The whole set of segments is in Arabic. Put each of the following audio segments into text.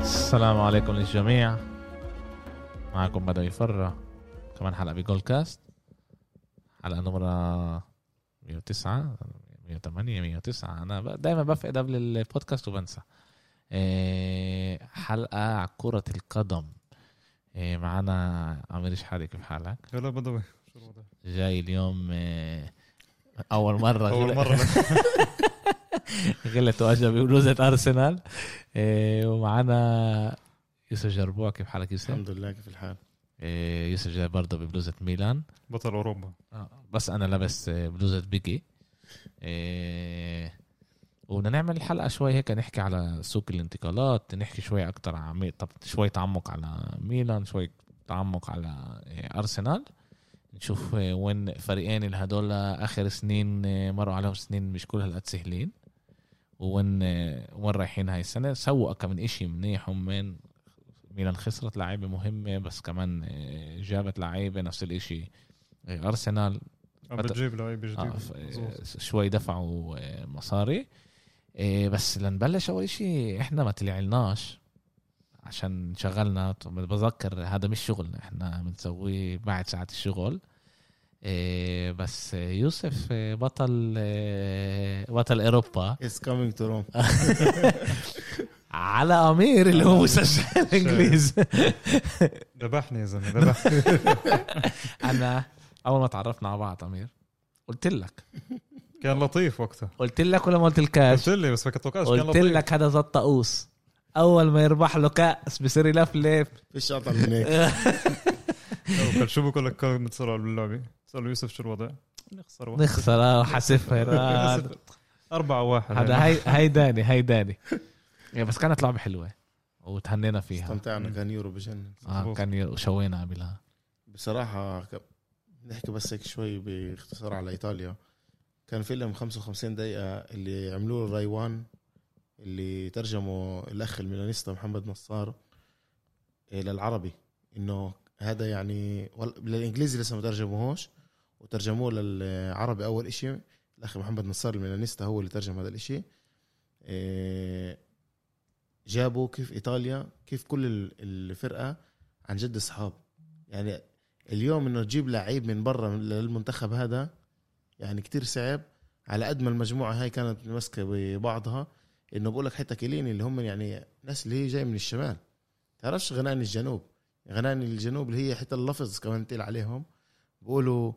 السلام عليكم للجميع معكم بدوي فرة كمان حلقة بجول كاست حلقة نمرة 109 108 109 أنا ب- دايما بفقد قبل البودكاست وبنسى إيه، حلقة على كرة القدم إيه، معنا عمير شحالي كيف حالك؟ يلا بدوي شو الوضع؟ جاي اليوم آه، اول مره اول غل- مره غلت واجا ببلوزه ارسنال آه، ومعنا يوسف جربوع كيف حالك يوسف؟ الحمد لله كيف الحال آه، يوسف جاي برضه ببلوزه ميلان بطل اوروبا آه، بس انا لابس آه، بلوزه بيجي آه، وبدنا نعمل الحلقه شوي هيك نحكي على سوق الانتقالات نحكي شوي اكتر عن مي- طب شوي تعمق على ميلان شوي تعمق على آه، ارسنال نشوف آه، وين فريقين اللي هدول اخر سنين آه، مروا عليهم سنين مش كل هالقد سهلين وين آه، وين رايحين هاي السنه سووا كم من اشي منيح ومن ميلان خسرت لعيبه مهمه بس كمان آه، جابت لعيبه نفس الاشي آه، ارسنال عم بطل- بتجيب لعيبه جديده آه، ف- مظبوط. شوي دفعوا آه، مصاري آه، بس لنبلش اول شيء احنا ما طلعناش عشان انشغلنا طب بذكر هذا مش شغلنا احنا بنسويه بعد ساعات الشغل آه، بس آه، يوسف آه، بطل آه، بطل اوروبا It's coming to Rome على امير اللي هو مسجل انجليزي ذبحني يا زلمه ذبحني انا اول ما تعرفنا على بعض امير قلت لك كان لطيف وقتها قلت لك ولا ما قلتلكاش قلت لي بس ما كنت توقعش كان قلت لطيف لك هذا زاد طقوس اول ما يربح له كاس بصير يلفلف فيش اطعم من هيك كان شو بقول لك كان بتسألوا على اللعبه سألوا يوسف شو الوضع نخسر واحد نخسر آه، وحاسفها آه، نخسر. أربعة واحد هذا هي هي داني هي داني إيه، بس كانت لعبه حلوه وتهنينا فيها استمتعنا كان يورو بجنن آه مظبوط. كان ي- شوينا قبلها بصراحه ك- نحكي بس هيك شوي باختصار على ايطاليا كان فيلم 55 دقيقه اللي عملوه الرايوان اللي ترجمه الاخ الميلانيستا محمد نصار إيه، للعربي انه هذا يعني وال- بالانجليزي لسه ما ترجموهوش وترجموه للعربي اول إشي الاخ محمد نصار الميلانيستا هو اللي ترجم هذا الإشي إيه، جابوا كيف ايطاليا كيف كل ال- الفرقه عن جد اصحاب يعني اليوم انه تجيب لعيب من برا للمنتخب هذا يعني كتير صعب على قد ما المجموعه هاي كانت ماسكه ببعضها انه بقول لك حتى كيليني اللي هم يعني ناس اللي هي جاي من الشمال تعرفش غناني الجنوب غناني الجنوب اللي هي حتى اللفظ كمان تقيل عليهم بقولوا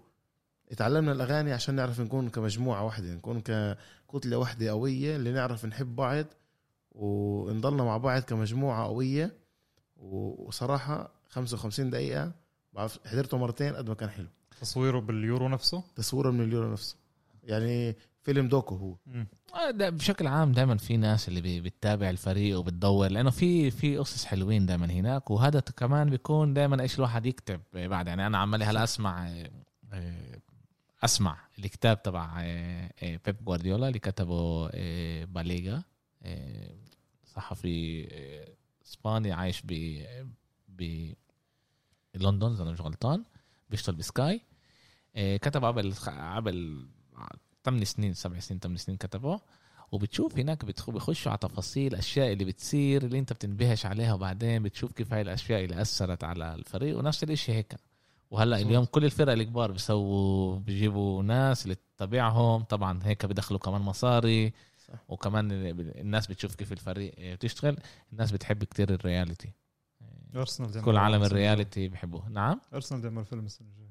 اتعلمنا الاغاني عشان نعرف نكون كمجموعه واحده نكون ككتله واحده قويه اللي نعرف نحب بعض ونضلنا مع بعض كمجموعه قويه و- وصراحه 55 دقيقه بعرف حضرته مرتين قد ما كان حلو تصويره باليورو نفسه تصويره من اليورو نفسه يعني فيلم دوكو هو مم. آه، دا- بشكل عام دائما في ناس اللي بي- بتتابع الفريق وبتدور لانه في في قصص حلوين دائما هناك وهذا ت- كمان بيكون دائما ايش الواحد يكتب بعد يعني انا عمالي هلا اسمع آه، آه، اسمع الكتاب تبع آه، آه، بيب جوارديولا اللي كتبه آه، باليغا آه، صحفي آه، اسباني عايش ب ب لندن اذا انا مش غلطان بيشتغل بسكاي آه، كتب قبل قبل 8 سنين 7 سنين 8 سنين كتبه وبتشوف هناك بتخ- بيخشوا على تفاصيل اشياء اللي بتصير اللي انت بتنبهش عليها وبعدين بتشوف كيف هاي الاشياء اللي اثرت على الفريق ونفس الاشي هيك وهلا اليوم كل الفرق الكبار بيسووا بيجيبوا ناس اللي تتابعهم طبعا هيك بدخلوا كمان مصاري صح. وكمان ال- الناس بتشوف كيف الفريق آه، بتشتغل الناس بتحب كتير الرياليتي ارسنال بده يعمل كل عالم فيلم السنة الرياليتي بحبوه نعم الجاية. ارسنال بده يعمل فيلم السنه الجايه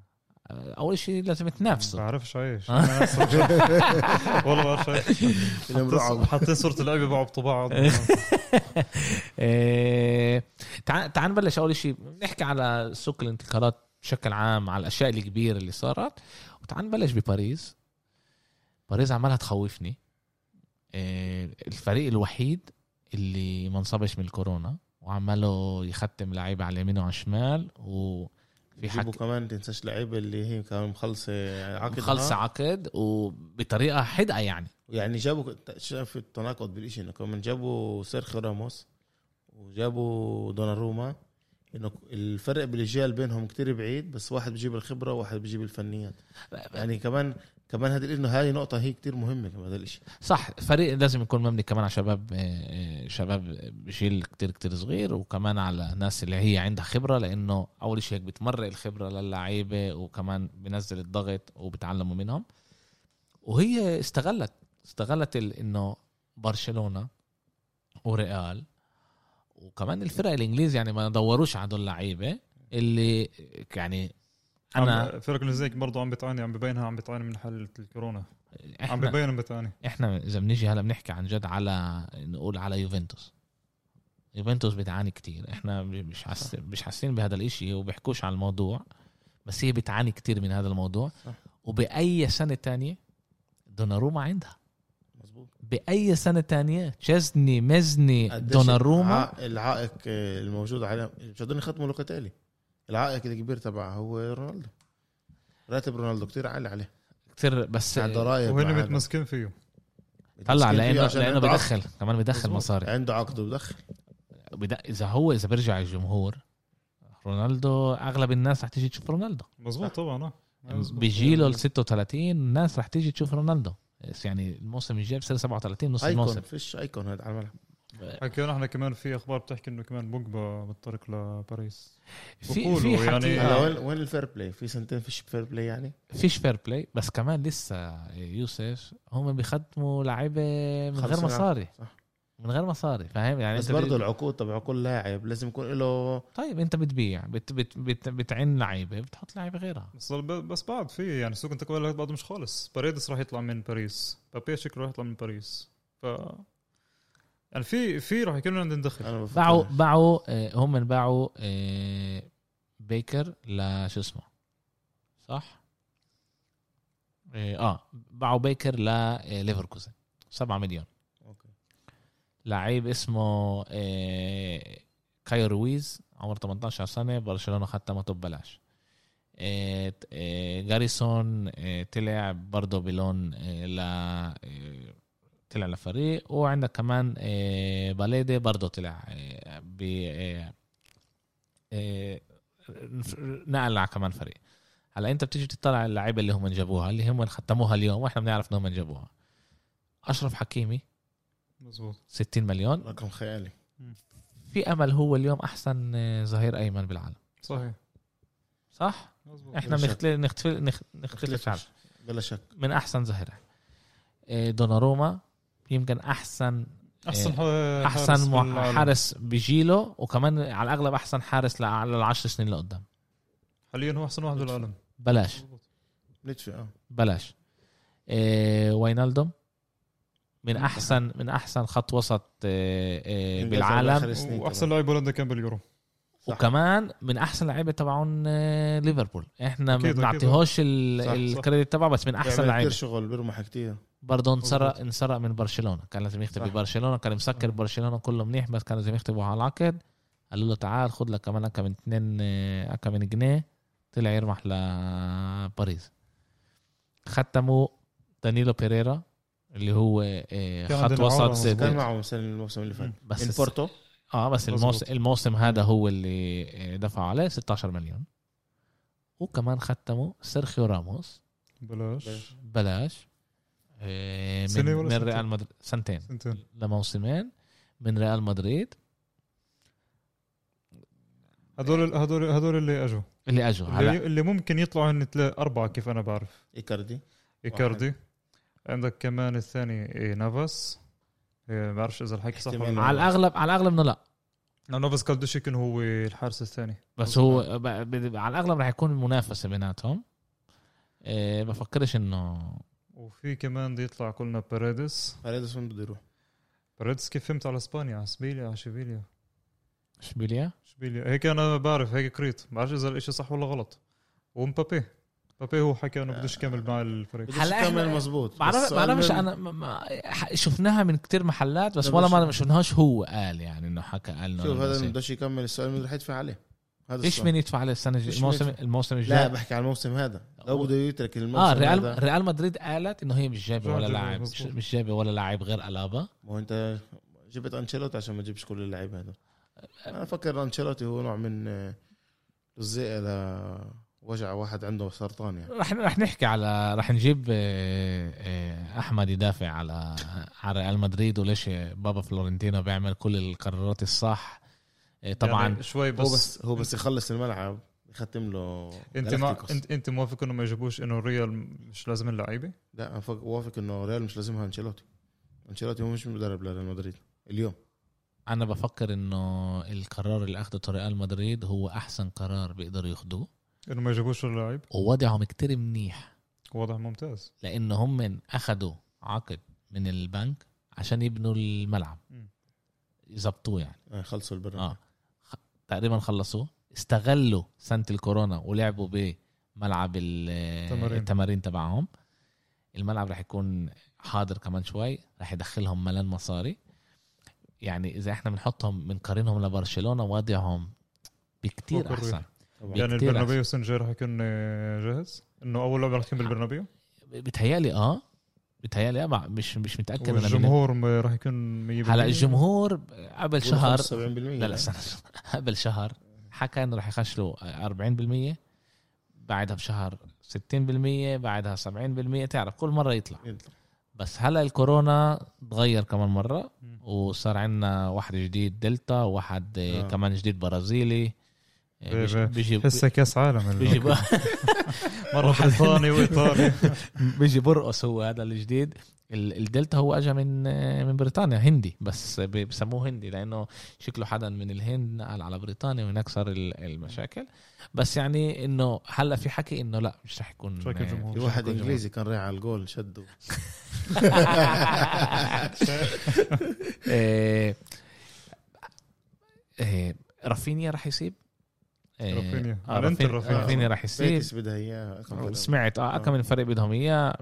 آه، اول شيء لازم ما تنافسه بعرفش عايش أنا أصلاً مش عارف. والله ما بعرفش عايش فيلم حاطين- رعب حاطين صوره اللعيبه بعض بطباعه إيه، تعال تعال نبلش اول شيء نحكي على سوق الانتقالات بشكل عام على الاشياء الكبيره اللي صارت وتعال نبلش بباريس باريس عمالها تخوفني إيه، الفريق الوحيد اللي ما انصابش من الكورونا وعماله يختم لعيبه على اليمين وعلى الشمال وفي يجيبوا حكي كمان تنساش لعيبه اللي هي آه، كانوا مخلصه عقدها خلص عقد وبطريقه حدقه يعني يعني جابوا شاف التناقض بالشيء انه كمان جابوا سيرخيو راموس وجابوا دوناروما انه الفرق بالاجيال بينهم كتير بعيد بس واحد بجيب الخبره وواحد بجيب الفنيات يعني كمان كمان هذه انه هاي نقطه هي كتير مهمه كمان هذا الشيء صح فريق لازم يكون مبني كمان على شباب آه، شباب بجيل كتير كتير صغير وكمان على ناس اللي هي عندها خبره لانه اول شيء هيك بتمرق الخبره للعيبه وكمان بنزل الضغط وبتعلموا منهم وهي استغلت استغلت ال- انه برشلونه وريال وكمان الفرق الانجليز يعني ما دوروش على هدول اللعيبه اللي يعني انا انا فرق الزيك برضه عم بتعاني عم ببينها عم بتعاني من حاله الكورونا عم احنا ببينها بتعاني احنا اذا بنيجي هلا بنحكي عن جد على نقول على يوفنتوس يوفنتوس بتعاني كتير احنا مش حاس... مش حاسين بهذا الاشي وبيحكوش عن الموضوع بس هي بتعاني كتير من هذا الموضوع صح. وبأي سنة تانية دوناروما عندها مزبوط بأي سنة تانية تشزني مزني دوناروما العائق آه، الموجود على مش قادرين يختموا لوكاتيلي العائق الكبير تبعه هو رونالدو راتب رونالدو كتير عالي عليه كتير بس عنده راية وهن متمسكين فيه طلع لانه لانه بدخل كمان بدخل مظبوط. مصاري عنده عقد وبدخل بدأ- اذا هو اذا بيرجع الجمهور رونالدو اغلب الناس رح تيجي تشوف رونالدو مزبوط طبعا اه يعني مزبوط. بجيله ال 36 الناس رح تيجي تشوف رونالدو بس يعني الموسم الجاي بصير 37 نص ايكون الموسم فيش ايكون هذا على الملعب حكينا احنا كمان في اخبار بتحكي انه كمان بوجبا متطرق لباريس في في بقولوا حكي يعني- هلا آه. وين وين الفير بلاي في سنتين فيش فير بلاي يعني فيش فير بلاي بس كمان لسه يوسف هم بيخدموا لعيبه من غير خلص مصاري صح. من غير مصاري فاهم يعني بس أنت بت- برضه العقود تبع كل لاعب لازم يكون له طيب انت بتبيع بت بت بت بتعين لعيبه بتحط لعيبه غيرها بس ب- بس بعد في يعني سوق انتقالات بعده مش خالص باريدس راح يطلع من باريس بابي شكله راح يطلع من باريس ف يعني في في راح يكون عندهم دخل انا باعوا بفكر باعوا آه، هم باعوا آه، بيكر لشو اسمه صح؟ اه آه، باعوا بيكر لليفركوزن 7 مليون أوكي. لعيب اسمه آه، كايو رويز عمره 18 سنه برشلونه ختمته ببلاش آه، ت- آه، جاريسون آه، طلع برضه بلون آه، ل آه، طلع لفريق وعندك كمان آه، باليدي برضه طلع آه، ب آه، آه، نقل على كمان فريق هلا انت بتيجي تطلع على اللعيبه اللي هم جابوها اللي هم ختموها اليوم واحنا بنعرف انهم جابوها اشرف حكيمي مزبوط 60 مليون رقم خيالي في امل هو اليوم احسن آه، ظهير ايمن بالعالم صحيح صح مزبوط احنا بلا بنختلف نختلف نخ- نختلف على- بلا شك من احسن ظهير آه، دوناروما يمكن احسن احسن ح- آه، حارس احسن مع- بالعالم. إيه، حارس بجيله وكمان على الاغلب احسن حارس لع- على العشر سنين اللي قدام حاليا هو احسن واحد بالعالم بلاش نتفق اه بلاش آه، واينالدوم من احسن من احسن خط وسط آه، آه، بالعالم آخر سنين واحسن طبعاً. لاعب بولندا كان باليورو صح. وكمان من احسن لعيبه تبعون آه، ليفربول احنا ما أكيد، أكيد. بنعطيهوش صح، صح. الكريدت تبعه بس من احسن بيعمل كتير لعيبه شغل بيرمح كتير برضه انسرق مظبوط. انسرق من برشلونه كان لازم يختم صح. ببرشلونه كان مسكر برشلونه كله منيح بس كان لازم يختموا على العقد قالوا له تعال خد لك كمان اكا من اتنين آه، اكا من جنيه طلع يرمح لباريس ختموا دانيلو بيريرا اللي هو آه، كان خط عندنا عمره وسط مظبوط. كان سد- معه مثلا الموسم اللي فات من بس بورتو اه بس مظبوط. الموسم الموسم هذا هو اللي آه، دفعوا عليه 16 مليون وكمان ختموا سيرخيو راموس بلاش بلاش آه، من, سنة ولا من سنتين؟ ريال مدريد سنتين سنتين لموسمين من ريال مدريد هدول هدول هدول اللي اجوا اللي اجوا هلا اللي, اللي ممكن يطلعوا هن تلا- اربعه كيف انا بعرف ايكاردي ايكاردي عندك كمان الثاني إيه نافاس إيه بعرفش اذا الحكي صح احتمال. ولا على الاغلب على الاغلب انه لا لا نافاس كالدوش يكون هو الحارس الثاني بس هو ب- ب- على الاغلب رح يكون منافسه بيناتهم إيه بفكرش انه وفي كمان بده يطلع قلنا باريدس باريدس وين بده يروح باريدس كيف فهمت على اسبانيا على اشبيليا على شبيليا اشبيليا اشبيليا هيك انا بعرف هيك كريت بعرفش اذا الاشي صح ولا غلط ومبابي مبابي هو حكى انه بدوش يكمل مع الفريق بدوش هلا إحنا- يكمل مزبوط بعرف بس سؤال بعرفش مين- انا ما- ما- ح- شفناها من كتير محلات بس لا ولا بس- مره ما شفناهاش هو قال يعني انه حكى قال انه شوف أنا هذا بصير. اللي بدوش يكمل السؤال مين رح يدفع عليه هذا فيش السؤال. مين يدفع عليه السنه الجاية- فيش الموسم مين يدفع. الموسم لا الجاي بحكي على الموسم هذا لو بده يترك الموسم اه هذا ريال ريال مدريد قالت انه هي مش جايبه ريال ولا مدريد، لاعب مش- مظبوط. مش جايبه ولا لاعب غير الابا ما هو انت جبت انشيلوتي عشان ما تجيبش كل اللعيبه هذول انا فكر انشيلوتي هو نوع من آه، الزق لوجع واحد عنده سرطان يعني رح رح نحكي على رح نجيب آه، آه، احمد يدافع على على ريال مدريد وليش بابا فلورنتينو بيعمل كل القرارات الصح آه، طبعا يعني شوي هو بس, بس هو بس يخلص الملعب يختم له انت ما جالاكتيكوس. انت, انت موافق انه ما يجيبوش انه الريال مش لازم اللعيبه؟ لا انا فوق- وافق انه ريال مش لازمها انشيلوتي انشيلوتي هو مش مدرب لريال مدريد اليوم انا بفكر انه القرار اللي اخذته ريال مدريد هو احسن قرار بيقدروا ياخدوه انه ما يجيبوش اللعيب ووضعهم كتير منيح وضع ممتاز لان هم اخذوا عقد من البنك عشان يبنوا الملعب مم. يظبطوه يعني آه، خلصوا البرنامج اه خ- تقريبا خلصوه استغلوا سنه الكورونا ولعبوا بملعب ال- تمارين. التمارين تبعهم الملعب رح يكون حاضر كمان شوي رح يدخلهم ملان مصاري يعني اذا احنا بنحطهم بنقارنهم لبرشلونه وضعهم بكتير فوق الريح. احسن طبعا بي- يعني كتير البرنابيو سان جير رح يكون آه، جاهز انه اول لعبه رح تكون بالبرنابيو بتهيالي اه بتهيالي اه مع- مش مش متاكد أنا بال- والجمهور ما راح يكون 100% هلا الجمهور قبل شهر 75% لا لا استنى قبل شهر حكى انه رح يخشلوا 40% بعدها بشهر 60% بعدها 70% تعرف كل مره يطلع بس هلا الكورونا تغير كمان مره مم. وصار عندنا واحد جديد دلتا وواحد آه. آه. كمان جديد برازيلي آه، بي- بيجي- بي- بيجي حسها كاس عالم بيجي ال- مره بريطاني وايطالي بيجي برقص هو هذا الجديد ال- الدلتا هو اجى من من بريطانيا هندي بس بي- بسموه هندي لانه شكله حدا من الهند نقل على بريطانيا وهناك صار ال- المشاكل بس يعني انه هلا في حكي انه لا مش رح يكون مش رح يكون جمهور. في واحد انجليزي كان رايح على الجول شده إيه، إيه، رافينيا رح يسيب إيه، رافينيا. آه، أنت رافين- رافينيا. رافينيا رح يسيب بيتس بدها اياه سمعت اه كم من فريق بدهم اياه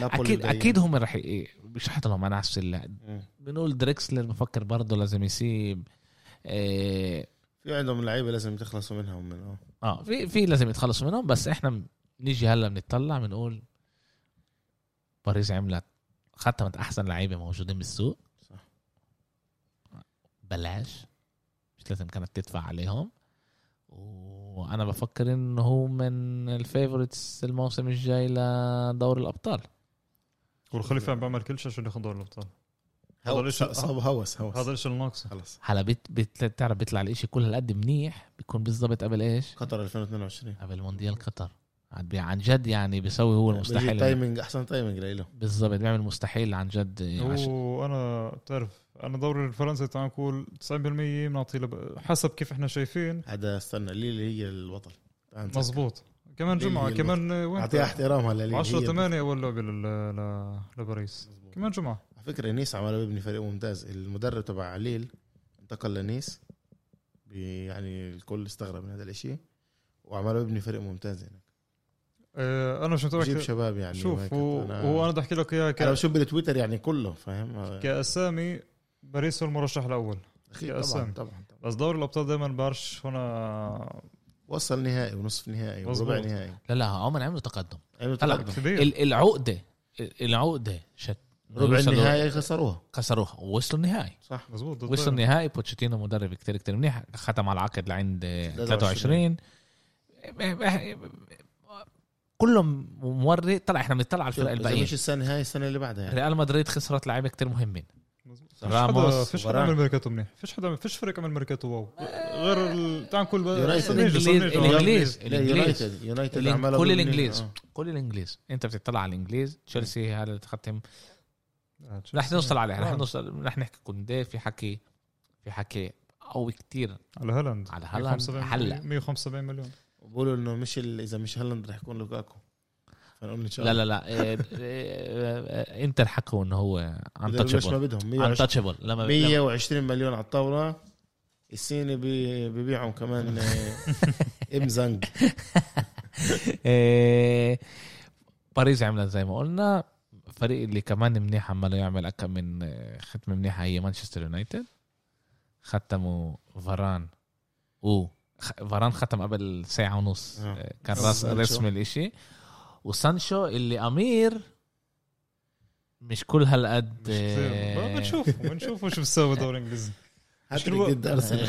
نابولي اكيد بدها إياه. اكيد هم رح ي- مش حيطلعوا مع نفس ال- مم. بنقول دريكسلر بفكر برضه لازم يسيب إيه، في عندهم لعيبه لازم تخلصوا منها ومن اه اه في في لازم يتخلصوا منهم بس احنا م- نيجي هلا بنطلع بنقول باريس عملت ختمت احسن لعيبه موجودين بالسوق صح. بلاش مش لازم كانت تدفع عليهم وانا بفكر انه هو من الفيفوريتس الموسم الجاي لدوري الابطال والخليفه عم بعمل كل شيء عشان ياخذ دوري الابطال هذا هوس الإشي- هوس هذا هوس الشيء اللي ناقصه خلص هلا بت- بت- بتعرف بيطلع الاشي كل هالقد منيح بيكون بالضبط قبل ايش؟ قطر 2022 قبل مونديال قطر عاد بي- عن جد يعني بيسوي هو المستحيل تايمينج احسن تايمينج لإله بالضبط بيعمل مستحيل عن جد إيه، عشان وانا بتعرف انا دوري الفرنسي تعال نقول 90% بنعطيه لب- حسب كيف احنا شايفين هذا استنى ليلي هي البطل تعال نسكر. مظبوط كمان ليلي جمعه هي كمان وين اعطيها احترامها لليلي 10 هي 8 اول لعبه لل- ل- لباريس مظبوط. كمان جمعه على فكره نيس عمل يبني فريق ممتاز المدرب تبع عليل انتقل لنيس بي- يعني الكل استغرب من هذا الاشي وعملوا يبني فريق ممتاز هناك آه، انا مش متابع جيب كتير. شباب يعني شوف هيك. هو أنا- هو انا بدي احكي لك اياها انا ك- بشوف بالتويتر يعني كله فاهم كاسامي باريس هو المرشح الاول أكيد كأسامي. طبعا طبعا طبعا بس دوري الابطال دائما بعرفش هنا وصل نهائي ونصف نهائي مظبوط. وربع نهائي أيوة، لا لا عمر عملوا تقدم عملوا هلا تقدم. كبير ال- العقده العقده شت ربع وصلوا- النهائي خسروها كسروها ووصلوا النهائي صح مظبوط ضد وصلوا بايرن. النهائي بوتشيتينو مدرب كتير كتير منيح ختم على العقد لعند 23 23. كلهم موري طلع احنا بنطلع على الفرق إذا الباقيين مش السنه هاي السنه اللي بعدها يعني ريال مدريد خسرت لعيبه كتير مهمين مظبوط. فيش حدا راموس فيش حدا وفران. عمل ميركاتو منيح فيش حدا فيش فريق عمل ميركاتو واو غير ال- تعال نقول يونايتد. صنيجة- صنيجة. الإنجليز. لا، الإنجليز. يونايتد يونايتد الإن- عملوا كل بالنهائي. الانجليز آه. كل الانجليز انت بتطلع على الانجليز تشيلسي هذا اللي تختم آه، رح نوصل عليها رح آه. نوصل رح نحكي كوندي في حكي في حكي قوي كتير على هالاند على هالاند. 175 هلا. 175 مليون بقولوا انه مش ال- اذا مش هالاند رح يكون لوكاكو فنقول ان شاء لا الله لا لا إيه، إيه، انتر حكوا انه هو بدهم ليش ما انتشبل بدهم 120 انتشبل لما لما- 120 مليون على الطاوله الصيني بي- ببيعهم كمان آه، ام زنج إيه، باريس عملت زي ما قلنا الفريق اللي كمان منيح عماله يعمل اكم من آه، ختمه منيحه هي مانشستر يونايتد ختموا فاران و خ- فاران ختم قبل ساعه ونص آه. آه، كان راس سانشو. رسم الاشي وسانشو اللي امير مش كل إيه، هالقد مش كتير. آه، بنشوف بنشوف وش بتساوي الدوري الانجليزي هاتريك كل- ضد ارسنال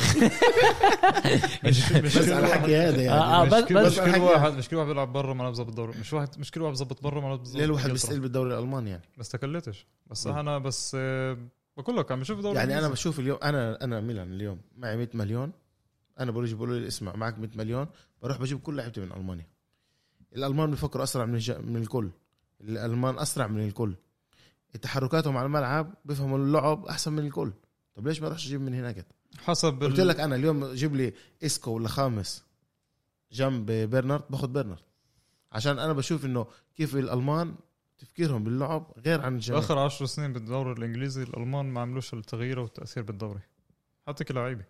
مش مش بس كل على واحد- الحكي هذا يعني آه، آه، مش بس- كل- بس مش كل الحكي. واحد مش كل واحد بيلعب برا ملعب ظبط دوري مش واحد مش كل واحد بظبط برا ملعب ظبط ليه الواحد إنجلترا. بيستقل بالدوري الالماني يعني ما استقلتش بس مم. انا بس آه، بقول لك عم بشوف دوري يعني انا إنجليزي. بشوف اليوم انا انا ميلان اليوم معي 100 مليون انا بروح بقولوا لي اسمع معك 100 مليون بروح بجيب كل لعيبتي من المانيا الالمان بيفكروا اسرع من الج- من الكل الالمان اسرع من الكل تحركاتهم على الملعب بيفهموا اللعب احسن من الكل طب ليش ما اروحش اجيب من هناك حسب قلت ال- لك انا اليوم جيب لي اسكو ولا خامس جنب بيرنارد باخذ بيرنارد عشان انا بشوف انه كيف الالمان تفكيرهم باللعب غير عن الجميع باخر 10 سنين بالدوري الانجليزي الالمان ما عملوش التغيير والتاثير بالدوري حتى كلاعيبه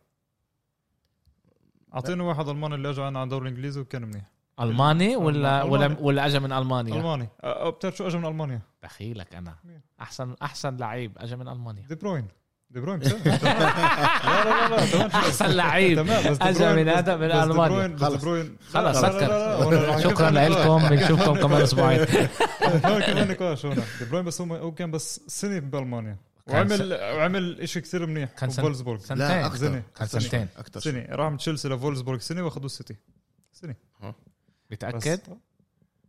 اعطيني واحد الماني اللي اجى انا على الدوري الانجليزي وكان منيح الماني ولا ألماني. ولا ولا اجى من المانيا الماني أه، أه، بتعرف شو اجى من المانيا بخيلك انا مين؟ احسن احسن لعيب اجى من المانيا دي بروين دي بروين تمام. لا لا لا لا تمام شوف. احسن لعيب تمام بس دي أجا بروين- من بس- هذا من بس دي ألمانيا. بروين- بس دي خلص. بروين- خلاص لا، لا، لا، سكر لا، ولا- ولا- شكرا لكم بنشوفكم كمان اسبوعين هون كمان نقاش هون دي بروين بس هو هو كان بس سنه بالمانيا كان وعمل وعمل شيء كثير منيح كان سن- فولسبورغ لا سنتين اكثر زني. كان أكثر شوي. سنتين. اكثر شوي. سنه راح من تشيلسي لفولسبورغ سنه واخذوا السيتي سنه بس- بتاكد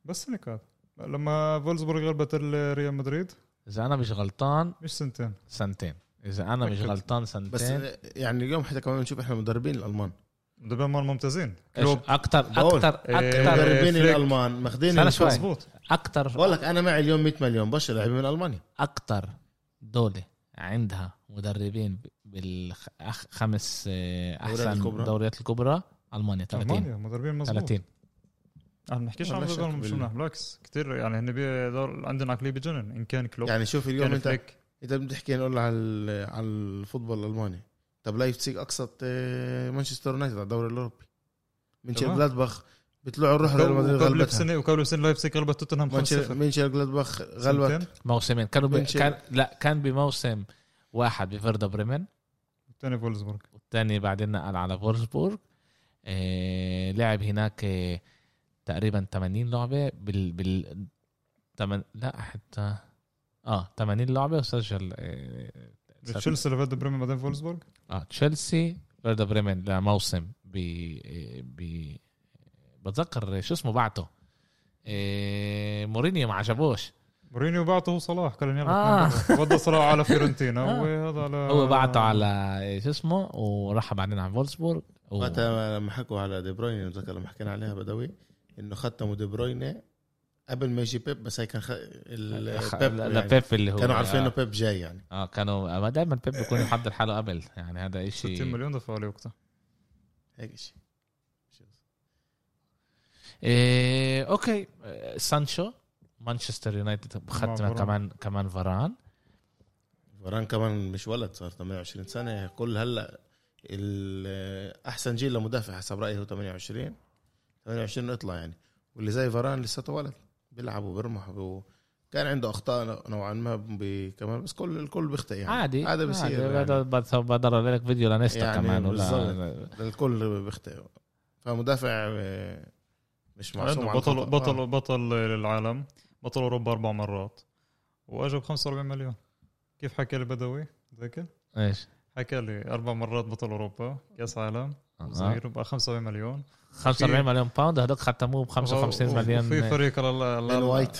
بس سنه كانت لما فولسبورغ غلبت ريال مدريد اذا انا مش غلطان مش سنتين سنتين اذا انا مش أكيد. غلطان بس سنتين يعني اليوم حتى كمان نشوف احنا مدربين الالمان دبل مان ممتازين ايش كلوب اكثر بقول. اكثر إيه، اكثر مدربين فليك. الالمان ماخذين سنة شوي. الفوز. مظبوط اكثر بقول لك انا معي اليوم 100 مليون برشا لاعبين من المانيا اكثر دوله عندها مدربين بالخمس احسن الكبرى. الدوريات الكبرى المانيا 30 المانيا مدربين مظبوط 30 انا ما بنحكيش لا عن شك دبل مش بال- منيح بالعكس كثير يعني هن بي- دور- عندنا عقليه بجنن ان كان كلوب يعني شوف اليوم كان انت فليك انت بتحكي نقول على ال- على الفوتبول الالماني طب لايبسيج اقصت آه، مانشستر يونايتد على الدوري الاوروبي مينشيل تمام. جلادباخ بيطلعوا يروحوا ريال مدريد وقبل غلبتها بسنه وقبل بسنه لايبسيك غلبت توتنهام 5-0 مانشستر- مينشيل جلادباخ غلبت سنتين، موسمين كانوا ب... من شيء. كان لا كان بموسم واحد بفيردا بريمن والثاني فولسبورغ والثاني بعدين نقل على فولسبورغ آه... لعب هناك آه... تقريبا 80 لعبه بال بال تمن... لا حتى اه 80 لعبه وسجل آه... تشيلسي لفت بريمن بعدين فولسبورغ اه تشيلسي فيردا بريمن لموسم ب ب بتذكر شو اسمه بعته إيه مورينيو ما عجبوش مورينيو بعته صلاح قال يلا آه. اثنين دولار. ودى صلاح على فيورنتينا آه. وهذا على هو بعته على آه، شو اسمه وراح بعدين على فولسبورغ و- وقت لما حكوا على دي بروين بتذكر لما حكينا عليها بدوي انه ختموا دي بروين قبل ما يجي بيب بس هي كان خ... ال... خ- بيب لا- لا يعني. بيب اللي هو كانوا عارفين انه بيب جاي يعني اه كانوا ما دائما بيب بيكون محضر حاله قبل يعني هذا 60 شيء مليون دفعوا عليه وقتها هيك شيء إيه اوكي إيه، سانشو مانشستر يونايتد ختم فاران. كمان كمان فران فران كمان مش ولد صار 28 سنه كل هلا ال- احسن جيل لمدافع حسب رايي هو 28 28 اطلع يعني واللي زي فران لساته ولد بيلعب وبيرمح و... كان عنده اخطاء نوعا ما ب- كمان بس كل الكل بيخطئ يعني عادي هذا بصير يعني. هذا بصير بدر لك فيديو لانستا يعني كمان بالظبط. ولا الكل بيخطئوا فمدافع آه، مش معصوم عنده عن بطل الخطأ. بطل آه. بطل العالم بطل اوروبا اربع مرات واجا ب 45 مليون كيف حكى لي بدوي ذاكر ايش حكى لي اربع مرات بطل اوروبا كاس عالم آه. صغير ب 45 مليون 45 مليون باوند هذوك ختموه ب 55 في مليون فريق بين وايت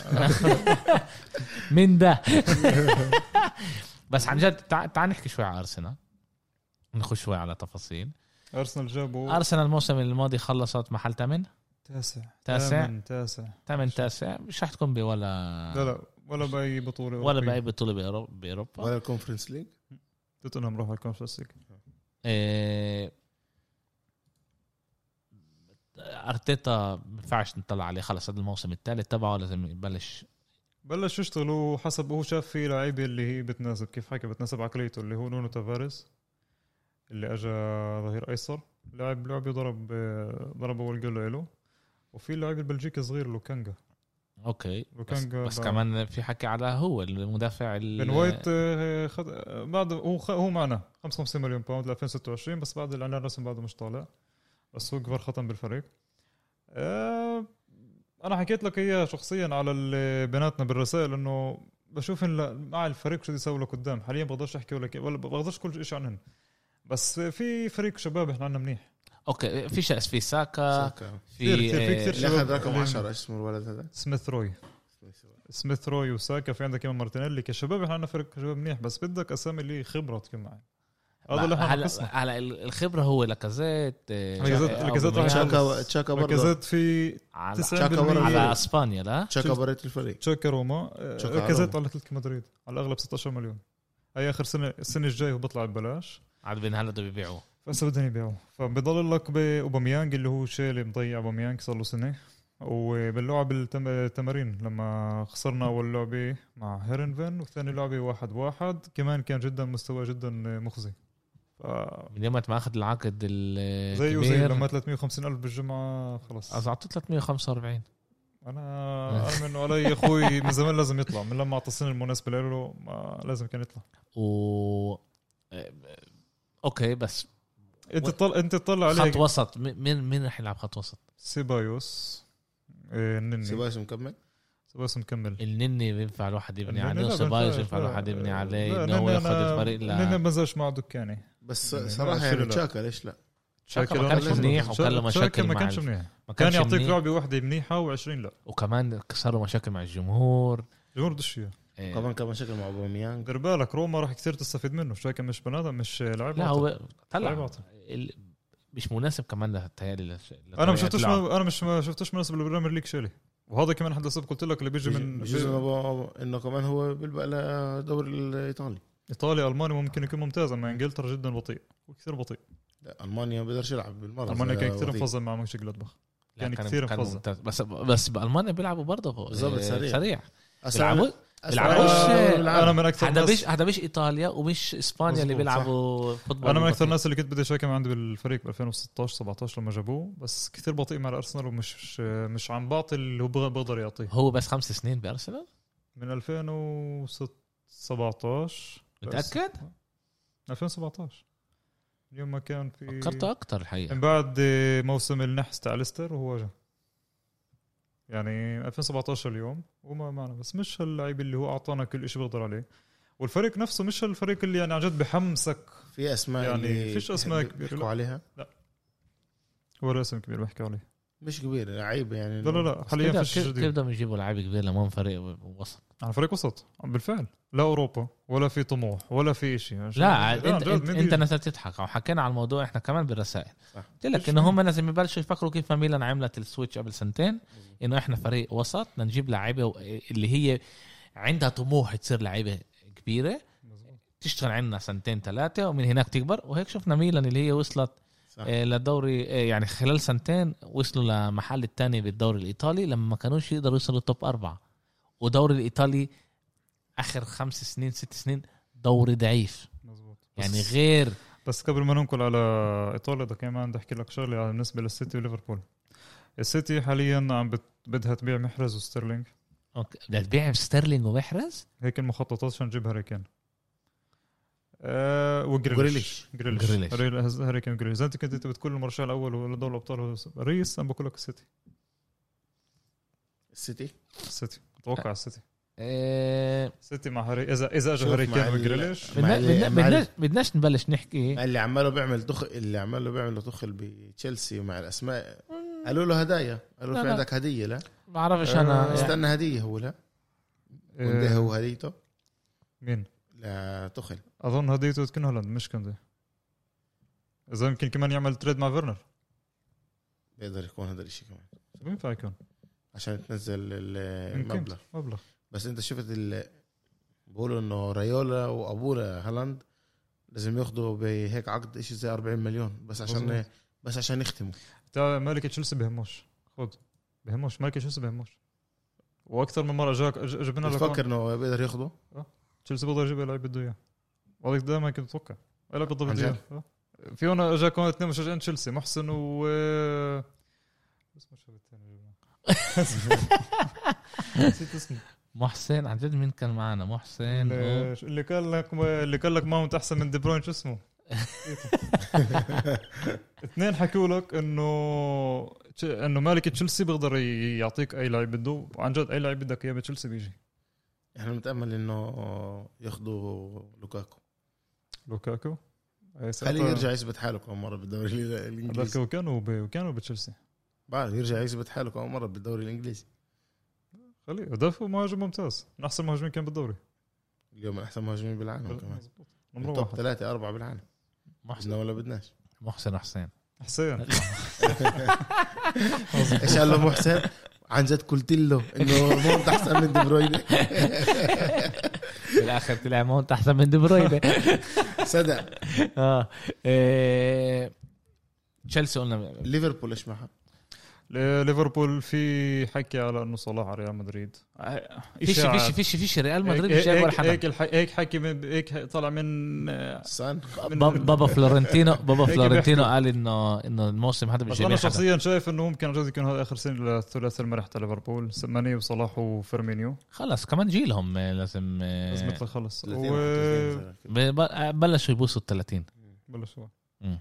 من ده بس عن جد تع- تعال نحكي شوي على ارسنال نخش شوي على تفاصيل ارسنال جابوا ارسنال الموسم الماضي خلصت محل ثامن تاسع تاسع. تامن، تاسع ثامن تاسع مش رح تكون بولا لا لا ولا باي بطوله ولا أوروبية. باي بطوله بأورو- باوروبا ولا الكونفرنس ليج توتنهام راح على الكونفرنس ليج. إيه، ارتيتا ما ينفعش نطلع عليه خلص هذا الموسم الثالث تبعه لازم يبلش بلش يشتغلوا حسب هو شاف في لعيبه اللي هي بتناسب كيف حكى بتناسب عقليته اللي هو نونو تافاريس اللي اجى ظهير ايسر لاعب لعبه ضرب آه، ضرب اول جول له وفي لاعب البلجيكي الصغير لوكانجا اوكي بس, وكان بس بقى- كمان في حكي على هو المدافع ال- بن وايت آه، خد آه، بعد هو خ- هو معنا 55 مليون باوند ل 2026 بس بعد الاعلان الرسمي بعده مش طالع بس هو كبر ختم بالفريق آه، انا حكيت لك اياه شخصيا على ال- بيناتنا بالرسائل انه بشوف إن لا- مع الفريق شو بده يسوي لقدام حاليا بقدرش احكي ولا كي- ولا بقدرش كل شيء عنهم بس في فريق شباب احنا عندنا منيح اوكي في شخص في ساكا ساكا. في كتير- كتير- آه، كتير اللي اخذ رقم شباب. 10 ايش اسمه الولد هذا؟ سميث روي سميث روي وساكا في عندك كمان مارتينيلي كشباب احنا عندنا فريق شباب منيح بس بدك اسامي اللي خبره تكون معي هذا اللي احنا إيه، هلا ناقصنا هلا ال- الخبره هو لاكازيت آه، لاكازيت- آه، لاكازيت أوباميانج. واحد- تشاكا تشاكا برضه ركزت في على, 90% تشاكا برا. على اسبانيا لا تشاكا بريت الفريق تشاكا روما آه، تشاكا على ركزت روما. على اتلتيكو مدريد على الاغلب 16 مليون هي اخر سنه السنه الجايه هو بيطلع ببلاش عاد بين هلا بده بيبيعوه فهسه بدهم يبيعوه فبضل لك باوباميانج اللي هو شيلي مضيع اوباميانج صار له سنه وباللعب التم- التمارين لما خسرنا اول لعبه مع هيرنفن والثاني لعبه واحد واحد كمان كان جدا مستوى جدا مخزي ف من يوم ما اخذ العقد زيه زي الكبير لما 350 الف بالجمعه خلص اعطوه 345 انا ارمي انه علي اخوي من زمان لازم يطلع من لما اعطى السنه المناسبه له ما لازم كان يطلع و آه، اوكي بس انت و- طل... انت طلع خط عليه وسط م- مين مين رح يلعب خط وسط؟ سيبايوس إيه نني سيبايوس, سيبايوس مكمل مكمل النني بينفع الواحد يبني النني لا عليه وسبايوس بينفع الواحد يبني عليه انه هو ياخذ الفريق ل نني ما زالش معه دكاني بس يعني صراحه لا، يعني لا. تشاكا ليش لا؟ شاكا شاكا ما كانش لازم- منيح وكان له شاكا- مشاكل شاكا مع ما كانش ال- منيح ما كانش كان يعطيك منيح. لعبه واحده منيحه و20 لا وكمان كسروا مشاكل مع الجمهور الجمهور بدوش اياه آه، إيه. كمان كان مشاكل مع اوباميانج دير بالك روما راح كثير تستفيد منه شاكا مش بنادم مش لاعب لا عاطل. هو لعيب طلع عاطل. ال- مش مناسب كمان لتهيألي يعني انا ما شفتوش انا مش ما شفتوش مناسب للبريمير ليج شيلي وهذا كمان حد السبب قلت لك اللي بيجي من بجوز إنه- انه كمان هو بيلبق لدوري الايطالي ايطاليا المانيا ممكن يكون ممتاز اما انجلترا جدا بطيء وكثير بطيء لا المانيا بقدرش يلعب بالمره المانيا كان آه، كثير وضيق. انفضل مع مانشستر جلادباخ يعني كتير انفضل. بس بس بالمانيا بيلعبوا برضه بالظبط، آه، سريع. سريع أسرع- بيلعبوش أسرع- بيلعبوش- آه، بيلعبوا. انا من اكثر هذا الناس مش هذا مش ايطاليا ومش اسبانيا اللي مظبوط، صح. بيلعبوا فوتبول انا من اكثر بطيء. الناس اللي كنت بدي شاكم عندي بالفريق ب 2016 17 لما جابوه بس كثير بطيء مع الارسنال ومش مش عم بعطي اللي هو بغ- بقدر يعطيه هو بس خمس سنين بارسنال من 2017 متاكد 2017 اليوم ما كان في فكرته اكثر الحقيقه من بعد موسم النحس تاع ليستر وهو جا يعني 2017 اليوم وما معنا بس مش هاللعيب اللي هو اعطانا كل شيء بيقدر عليه والفريق نفسه مش هالفريق اللي يعني عن جد بحمسك في اسماء يعني اللي فيش أسماء بيحكوا- كبيرة، بيحكوا لا. عليها ولا اسم كبير بحكي عليه مش كبيره لعيبه يعني لا لا لا حاليا كيف فيش كيف جديد بدهم يجيبوا لعيبه كبير لما هم فريق وسط على فريق وسط بالفعل لا اوروبا ولا في طموح ولا في يعني شيء لا عاد انت عن جد، انت, مين انت بيجي؟ نزلت تضحك او حكينا على الموضوع احنا كمان بالرسائل صح. قلت لك انه هم لازم يبلشوا يفكروا كيف ما ميلان عملت السويتش قبل سنتين انه احنا فريق وسط بدنا نجيب لعيبه و- اللي هي عندها طموح تصير لعيبه كبيره مظبوط. تشتغل عندنا سنتين ثلاثه ومن هناك تكبر وهيك شفنا ميلان اللي هي وصلت صح. آه، للدوري آه، يعني خلال سنتين وصلوا لمحل الثاني بالدوري الايطالي لما ما كانوش يقدروا يوصلوا توب اربعه والدوري الايطالي اخر خمس سنين ست سنين دوري ضعيف مظبوط يعني بس- غير بس قبل ما ننقل على ايطاليا بدي كمان بدي احكي لك شغله بالنسبه للسيتي وليفربول السيتي حاليا عم بت- بدها تبيع محرز وستيرلينج أوكي، بدها تبيع ستيرلينج ومحرز هيك المخططات عشان تجيب هاري كين آه وجريليش جريليش. جريليش هاري- هاري كين وجريليش زي انت كنت أنت بتقول المرشح الاول هو لدوري الابطال هو باريس انا بقول لك السيتي السيتي السيتي اتوقع السيتي آه، السيتي مع هاري اذا اذا اجى شوف هاري مع كين ال- وجريليش مع بدنا- ال- بدنا- مع ال- بدناش- بدناش نبلش نحكي اللي عماله بيعمل دخل اللي عماله بيعمل دخل بتشيلسي مع الاسماء قالوا له هدايا قالوا لا، له في لا. عندك هديه لا ما بعرفش انا يعني- آه، استنى هديه هو لا وده آه هو هديته مين لتخل اظن هديته تكون هولاند مش كوندي اذا يمكن كمان يعمل تريد مع فيرنر بيقدر يكون هذا الشيء كمان بينفع يكون عشان تنزل ال- يمكن. المبلغ مبلغ بس انت شفت ال... بقولوا انه ريولا وابولا هالاند لازم ياخذوا بهيك عقد شيء زي 40 مليون بس عشان مظبوط. بس عشان يختموا تاع ملك تشيلسي بهموش خذ بهموش ملك تشيلسي بهموش واكثر من مره جاك ج- جبنا لك بتفكر انه بيقدر ياخده تشيلسي بيقدر يجيب اللعيب بده اياه وهذاك دائما كنت اتوقع اللعيب بده عن بده جد؟ اياه في هون اجاك هون اثنين مشجعين تشيلسي محسن و e, اسمه شو الثاني اللي جبناه؟ نسيت اسمه محسن عن جد مين كان معنا محسن و- اللي اللي قال لك اللي قال لك ماونت احسن من دي بروين شو اسمه؟ اثنين حكوا لك انه تش- انه مالك تشيلسي بيقدر ي- يعطيك اي لاعب بده وعن جد اي لاعب بدك اياه بتشيلسي بيجي احنا بنتامل انه ياخذوا لوكاكو لوكاكو آه، ساعتها- خليه يرجع يثبت حاله كم مره بالدوري ال- بلكي الانجليزي وكانوا ب... وكانوا بتشيلسي بعد يرجع يثبت حاله كم مره بالدوري الانجليزي خليه دافع مهاجم ممتاز من احسن مهاجمين كان بالدوري اليوم من احسن مهاجمين بالعالم كمان مظبوط. نمرة توب واحد ثلاثه اربعه بالعالم محسن بدنا ولا بدناش محسن حسين حسين ايش قال له محسن عن جد قلت له انه مونت احسن من دي بروين بالاخر طلع مونت احسن من دي بروين صدق اه إيه، تشيلسي قلنا ليفربول ايش معها ل- ليفربول في حكي على انه صلاح على ريال مدريد آه، فيش إشاعات. فيش فيش فيش ريال مدريد هيك- مش جايب ولا هيك- هيك حدا الح- هيك حكي من هيك طلع من آه، سان من- باب- بابا فلورنتينو بابا هيك فلورنتينو بيحكوا. قال انه انه الموسم هذا مش بس انا جايبين حدا شخصيا شايف انه ممكن جوز يكون هذا اخر سنه للثلاثي المرح تاع ليفربول ماني وصلاح وفيرمينيو خلص كمان جيلهم آه، لازم آه، لازم تخلص 30 و- و 30. ب- ب- بلشوا يبوسوا ال 30 بلشوا مم.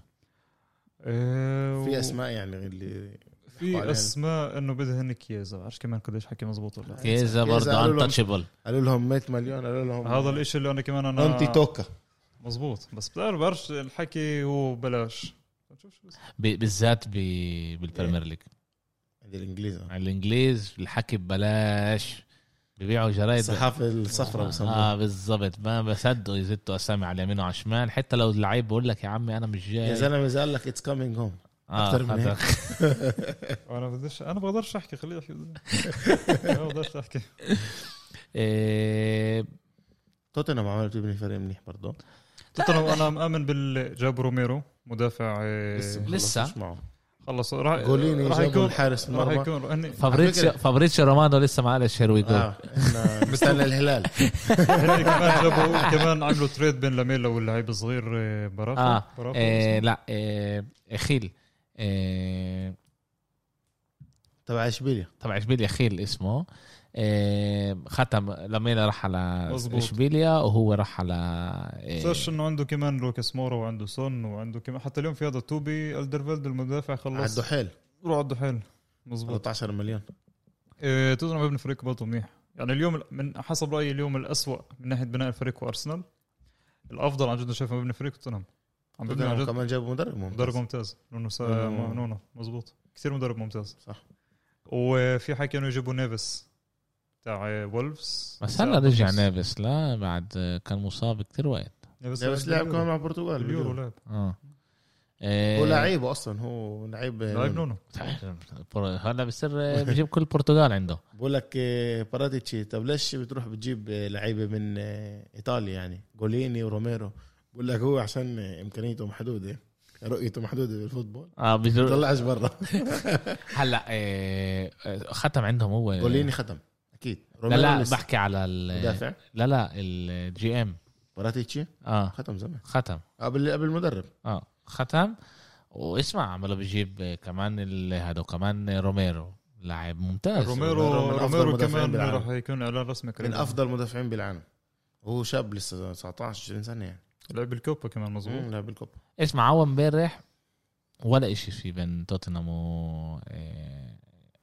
آه، و- في اسماء يعني اللي في علينا. اسماء انه بدهن كيزا بعرفش كمان قديش حكي مزبوط ولا لا. كيزا برضه قالوا لهم- انتشبل قالوا لهم 100 مليون قالوا لهم هذا الاشي اللي انا كمان انا انتي توكا مزبوط بس بتعرف بعرفش الحكي هو بلاش نشوف شو بصير. بالذات ب- بالبريمير ليج هذه الانجليزي الانجليز الحكي ببلاش ببيعوا جرايد الصحافه الصفراء بسموها اه بالضبط ما بصدقوا يزتوا اسامي على اليمين وعلى الشمال حتى لو اللعيب بقول لك يا عمي انا مش جاي يا زلمه اذا قال لك اتس كامينج هوم آه، أكتر من هذا- انا بديش انا بقدرش احكي خليه يحكي انا بقدرش احكي إيه، توتنهام عملت تبني فريق منيح برضه توتنهام انا مآمن بال جابوا روميرو مدافع آه، لسه ما لسه. خلصتش معه خلص راح جوليني إيه. راح جابوا يكون الحارس راح المرمى يكون هن- فابريتشيو على فابريتشيو رومانو لسه معاه الشيروي جول اه إحنا مستنى الهلال هن كمان جابوا كمان عملوا تريد بين لاميلا واللعيب الصغير آه، برافا اه برافا إيه، لا إيه، خيل إيه، تبع اشبيليا تبع اشبيليا خيل اسمه إيه، ختم لميلا راح على مظبوط. اشبيليا وهو راح على إيه، بس انه عنده كمان لوكاس مورا وعنده سون وعنده كمان حتى اليوم في هذا توبي الدرفيلد المدافع على خلص الدحيل روح على الدحيل مزبوط 13 مليون إيه توتنهام ابن فريق برضه منيح يعني اليوم ال- من حسب رايي اليوم الأسوأ من ناحيه بناء الفريق وارسنال الافضل عن جد أنا شايفه مبني فريق توتنهام عم ببني عن توتنهام جد كمان جابوا مدرب ممتاز. آه. مدرب ممتاز نونو سا... نونو. نونو مزبوط كثير مدرب ممتاز صح وفي حكي انه يجيبوا نيفس تاع وولفز بس هلا رجع نافس لا بعد كان مصاب كتير وقت نيفس لا، بس لعب كمان مع البرتغال اليورو باليورو. لعب اه آه، إيه. هو لعيب اصلا هو لعيب لعب نونو بر- هلا بصير بجيب كل البرتغال عنده بقول لك آه، باراتيتشي طب ليش بتروح بتجيب آه، لعيبه من آه، ايطاليا يعني جوليني وروميرو بقول لك هو عشان آه، امكانيته محدوده رؤيته محدوده بالفوتبول اه بجر... طلعش برا هلا إيه، ختم عندهم هو جوليني ختم اكيد لا لا لسه بحكي على ال... مدافع لا لا الجي ام باراتيتشي اه ختم زمان ختم قبل قبل المدرب اه ختم واسمع عمله بيجيب آه، كمان ال- هذا كمان روميرو لاعب ممتاز روميرو روميرو من أفضل روميرو مدافعين كمان بالعالم. راح يكون اعلان رسمي من قريباً. افضل مدافعين بالعالم هو شاب لسه 19 20 سنه يعني لعب الكوبا كمان مزبوط مم، لعب بالكوبا اسمع هو امبارح ولا اشي في بين توتنهام و آه،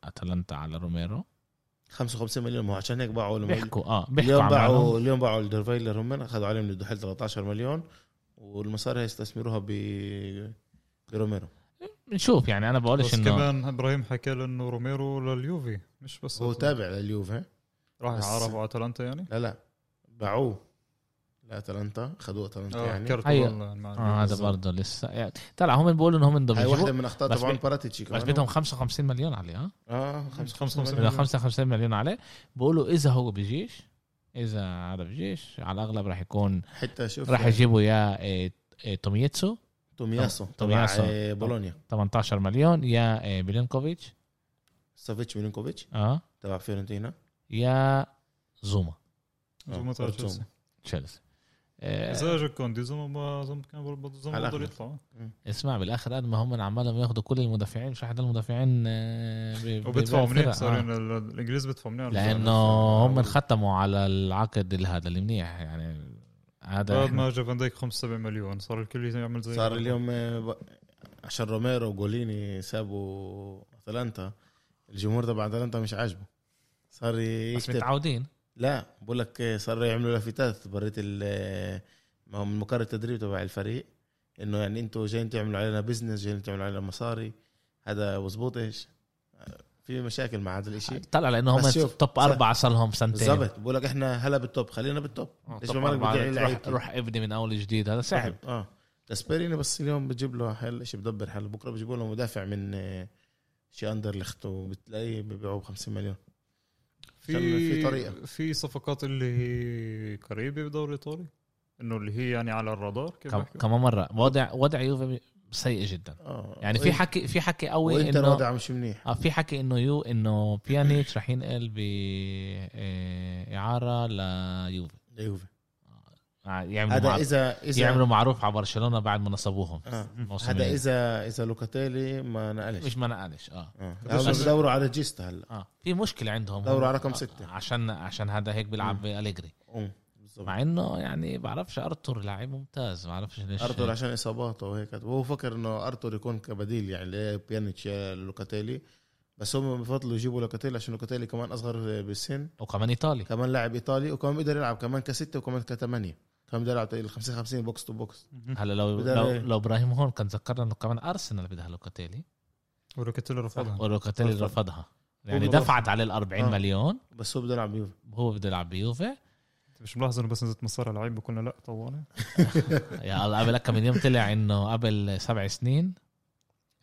اتلانتا على روميرو 55 مليون ما هو عشان هيك باعوا لهم بيحكوا اه بيحكوا اليوم عن معنهم. باعوا اليوم باعوا الدرفايلر هم اخذوا عليهم من الدحيل 13 مليون والمصاري هيستثمروها ب بروميرو بنشوف يعني انا بقولش بس انه كمان ابراهيم حكى له انه روميرو لليوفي مش بس هو أتلانتا. تابع لليوفي راح بس- يعرفوا على اتلانتا يعني لا لا باعوه لاتلانتا خذوه اتلانتا اه يعني كرت أيوة. بال- مع آه هذا اليوفي. برضه لسه يعني طلع هم بيقولوا ان هم بدهم هاي واحدة يجيبوا من اخطاء بس طبعا بي- باراتيتشي كمان بس بدهم 55 مليون عليه اه اه بدهم 55 55 مليون مليون. 55 مليون عليه بيقولوا اذا هو بجيش اذا هذا بجيش على الاغلب راح يكون حتى شوف راح يجيبوا يا إيه، إيه، توميتسو تومياسو تبع تومياسو. آه، بولونيا 18 مليون يا إيه، بيلينكوفيتش سافيتش ميلينكوفيتش اه تبع فيورنتينا يا زوما زوما تبع آه، تشيلسي. تشيلسي آه، اذا اجى كوندي زوما زوما كان برضه زوما على بقدر الأغلب. يطلع اسمع بالاخر قد ما هم عمالهم ياخذوا كل المدافعين مش حدا المدافعين آه، ب- ب- وبيدفعوا منيح بالفرق. صار آه. إن ال- الانجليز بيدفعوا منيح لانه هم ختموا على العقد ال- هذا اللي منيح يعني هذا بعد ما إحنا- اجى فان دايك 75 مليون صار الكل يعمل زي صار اليوم آه، ب- عشان روميرو وجوليني سابوا اتلانتا الجمهور تبع اتلانتا مش عاجبه صار بس يكتب متعودين لا بقول لك صار يعملوا لافتات بريت ال ما هو من مقر التدريب تبع الفريق انه يعني انتم جايين تعملوا علينا بزنس جايين تعملوا علينا مصاري هذا مزبوط ايش في مشاكل مع هذا الاشي طلع لانه هم بس شوف، توب صح. اربعه صار لهم سنتين بالضبط بقول لك احنا هلا بالتوب خلينا بالتوب آه، ليش توب ما مالك أربعة، بتدعي روح, لعيبتي؟ روح ابني من اول جديد هذا صعب اه جاسبريني بس اليوم بتجيب له حل شيء بدبر حل بكره بيجيبوا له مدافع من آه، شي اندرلخت وبتلاقيه ببيعوه ب 50 مليون في عشان في طريقة. في صفقات اللي هي قريبه بدوري ايطالي انه اللي هي يعني على الرادار كيف كم- بحكي؟ كمان مره وضع وضع يوفي سيء جدا اه يعني في حكي في حكي قوي وانت انه الوضع مش منيح اه في حكي انه يو انه بيانيتش رح ينقل ب آه، اعاره ليوفي يوفي آه، يعملوا هذا أيوه. مع... اذا اذا يعملوا معروف على برشلونه بعد ما نصبوهم آه. الموسم هذا اللي- اذا اذا لوكاتيلي ما نقلش مش ما نقلش اه اه بس لازم أنا- دوروا على جيستا هلا اه في مشكله عندهم دوروا هم- على رقم آه، ستة. عشان عشان هذا هيك بيلعب باليجري أم، أمم، بالضبط مع انه يعني بعرفش ارتور لاعب ممتاز بعرفش ليش ارتور عشان اصاباته وهيك وهو فكر انه ارتور يكون كبديل يعني لبيانيتش يا لوكاتيلي بس هم بفضلوا يجيبوا لوكاتيلي عشان لوكاتيلي كمان اصغر بالسن وكمان ايطالي كمان لاعب ايطالي وكمان بيقدر يلعب كمان كستة وكمان كثمانية كمان بيقدر يلعب ال 50 50 بوكس تو بوكس هلا لو بدل لو, إيه؟ لو ابراهيم هون كان ذكرنا انه كمان ارسنال بدها لوكاتيلي ولوكيتيلي رفضها ولوكاتيلي رفضها. رفضها يعني رفضها. دفعت عليه ال 40 آه. مليون بس هو بده يلعب بيوفي هو بده يلعب بيوفي أنت مش ملاحظ انه بس نزلت مصاري على لعيبه قلنا لا طوالي يا الله قبل كم من يوم طلع انه قبل سبع سنين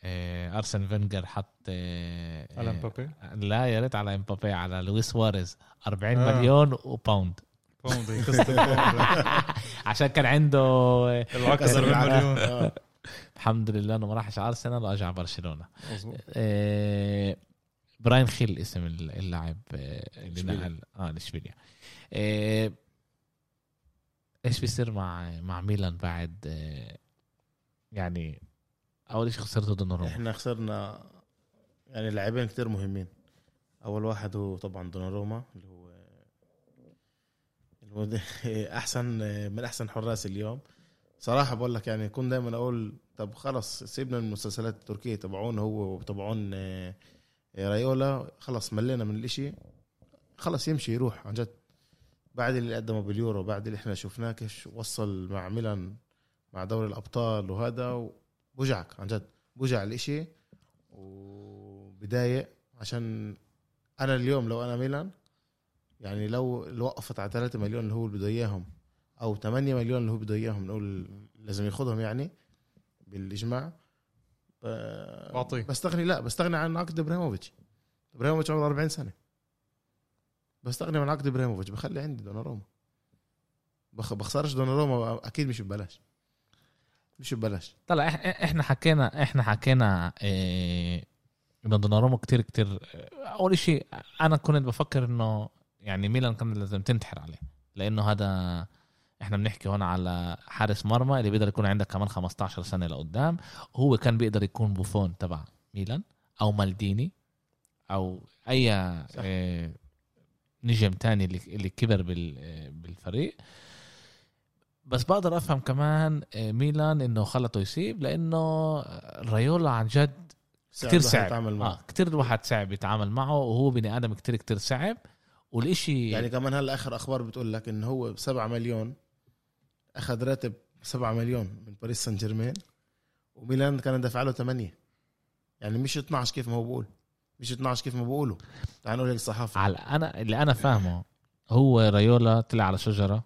آه، ارسن فينجر حط آه، على آه، مبابي لا يا ريت على امبابي على لويس سواريز 40 آه. مليون وباوند باوند هي قصة الباوند. عشان كان عنده آه، العكس 40 مليون آه. الحمد لله انه ما راحش على ارسنال واجى على برشلونه مظبوط آه، براين خيل اسم ال- اللاعب آه، اللي إشبيليا. نقل اه لاشبيليا آه، ايش بيصير مع مع ميلان بعد آه، يعني اول شيء خسرته ضد روما احنا خسرنا يعني لاعبين كتير مهمين اول واحد هو طبعا دوناروما اللي هو اللي هو ده- احسن من احسن حراس اليوم صراحه بقول لك يعني كنت دائما اقول طب خلص سيبنا من المسلسلات التركيه تبعون هو وتبعون آه، رايولا خلص ملينا من الاشي خلص يمشي يروح عن جد بعد اللي قدمه باليورو بعد اللي احنا شفناه كيف وصل مع ميلان مع دوري الابطال وهذا بوجعك عن جد بوجع الاشي وبدايق عشان انا اليوم لو انا ميلان يعني لو لو وقفت على 3 مليون اللي هو اللي بده اياهم او 8 مليون اللي هو بده اياهم نقول لازم ياخذهم يعني بالاجماع ب- بعطيه. بستغني لا بستغني عن عقد ابراهيموفيتش ابراهيموفيتش عمره 40 سنه بستغني عن عقد ابراهيموفيتش بخلي عندي دوناروما بخ- بخسرش دوناروما اكيد مش ببلاش مش ببلاش طلع إح- إح- احنا حكينا احنا حكينا آه، انه دوناروما كتير كتير آه، اول شيء انا كنت بفكر انه يعني ميلان كان لازم تنتحر عليه لانه هذا احنا بنحكي هون على حارس مرمى اللي بيقدر يكون عندك كمان 15 سنه لقدام هو كان بيقدر يكون بوفون تبع ميلان او مالديني او اي آه، نجم تاني اللي اللي كبر بال- آه، بالفريق بس بقدر افهم كمان آه، ميلان انه خلطه يسيب لانه رايولا عن جد كتير الواحد صعب يتعامل معه اه كتير الواحد صعب يتعامل معه وهو بني ادم كتير كتير صعب والإشي يعني كمان هلا اخر اخبار بتقول لك انه هو ب 7 مليون اخذ راتب 7 مليون من باريس سان جيرمان وميلان كان دافع له 8 يعني مش 12 كيف ما هو بقول مش 12 كيف ما بقولوا تعال نقول هيك الصحافه على انا اللي انا فاهمه هو رايولا طلع على شجره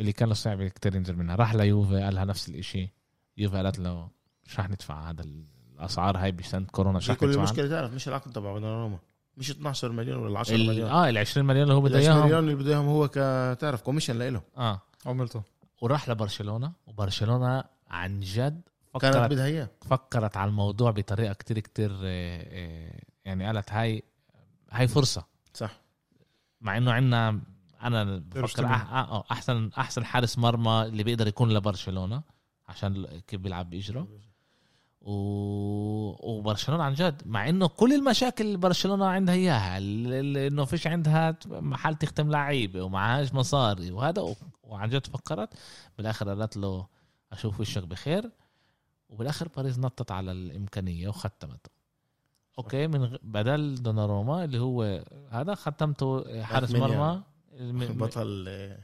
اللي كان له صعب كتير ينزل منها راح ليوفي قالها نفس الإشي يوفي قالت له مش رح ندفع هذا الاسعار هاي بسنه كورونا مش في رح كل ندفع المشكله تعرف مش العقد تبع روما مش 12 مليون ولا 10 ال- مليون اه ال 20 مليون اللي هو بده 10 اياهم مليون اللي بده اياهم هو ك- تعرف كوميشن لإله اه عملته وراح لبرشلونه وبرشلونه عن جد كانت فكرت بدها اياه فكرت على الموضوع بطريقه كتير كتير آه، آه، يعني قالت هاي هاي فرصه صح مع انه عندنا انا بفكر تشتغل. أح... آه، احسن احسن حارس مرمى اللي بيقدر يكون لبرشلونه عشان ال- كيف بيلعب باجره و... وبرشلونه عن جد مع انه كل المشاكل اللي برشلونه عندها اياها ال- ال- انه فيش عندها ت- محل تختم لعيبه ومعهاش مصاري وهذا و... وعن جد فكرت بالاخر قالت له اشوف وشك بخير وبالاخر باريس نطت على الامكانيه وختمته اوكي من غ... بدل دوناروما اللي هو هذا ختمته حارس مين مرمى الم- بطل آه،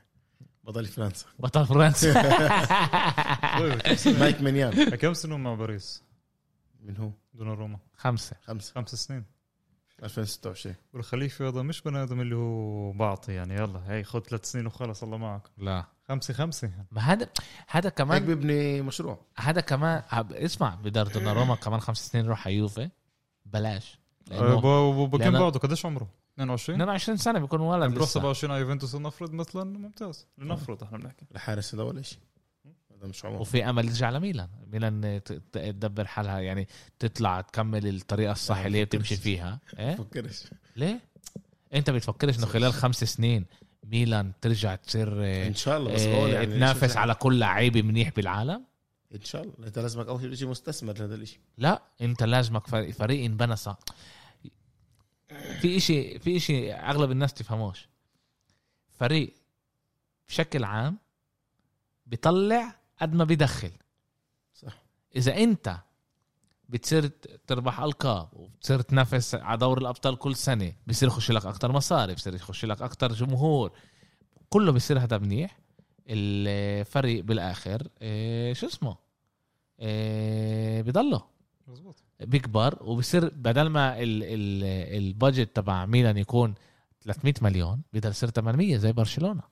بطل فرنسا بطل فرنسا طيب، كم سنة- مايك منيان كم سنه مع باريس من هو دوناروما خمسه خمسة خمس سنين 2026 والخليفه هذا مش بني ادم اللي هو بعطي يعني يلا هي خذ ثلاث سنين وخلص الله معك لا خمسه خمسه يعني ما هذا هذا هيك كمان بيبني مشروع هذا كمان عب- اسمع بدار دوناروما كمان خمس سنين يروح على يوفي بلاش آه، لانه ب- ب- بكم لأنه- بعده قديش عمره؟ 22 22 سنه بيكون ولد بروح لسه 27 على يوفنتوس لنفرض مثلا ممتاز لنفرض احنا بنحكي الحارس هذا ولا شيء هذا مش عمر وفي امل ترجع لميلان ميلان ت- ت- تدبر حالها يعني تطلع تكمل الطريقه الصح اللي هي بتمشي فيها ايه فكرش ليه انت بتفكرش انه خلال خمس سنين ميلان ترجع تصير آه، ان شاء الله بس بقول آه، يعني تنافس شوف- على كل لعيبه منيح بالعالم ان شاء الله انت لازمك اول شيء مستثمر لهذا الشيء لا انت لازمك فريق, فريق انبنى صح في اشي في اشي اغلب الناس تفهموش فريق بشكل عام بيطلع قد ما بيدخل صح اذا انت بتصير ت- تربح القاب وبتصير تنافس على دور الابطال كل سنه بصير يخش لك اكثر مصاري بصير يخش لك اكثر جمهور كله بصير هذا منيح الفريق بالاخر إيه، شو اسمه إيه، بضله مزبوط بيكبر وبصير بدل ما ال ال البادجت تبع ميلان يكون 300 مليون بيقدر يصير 800 زي برشلونه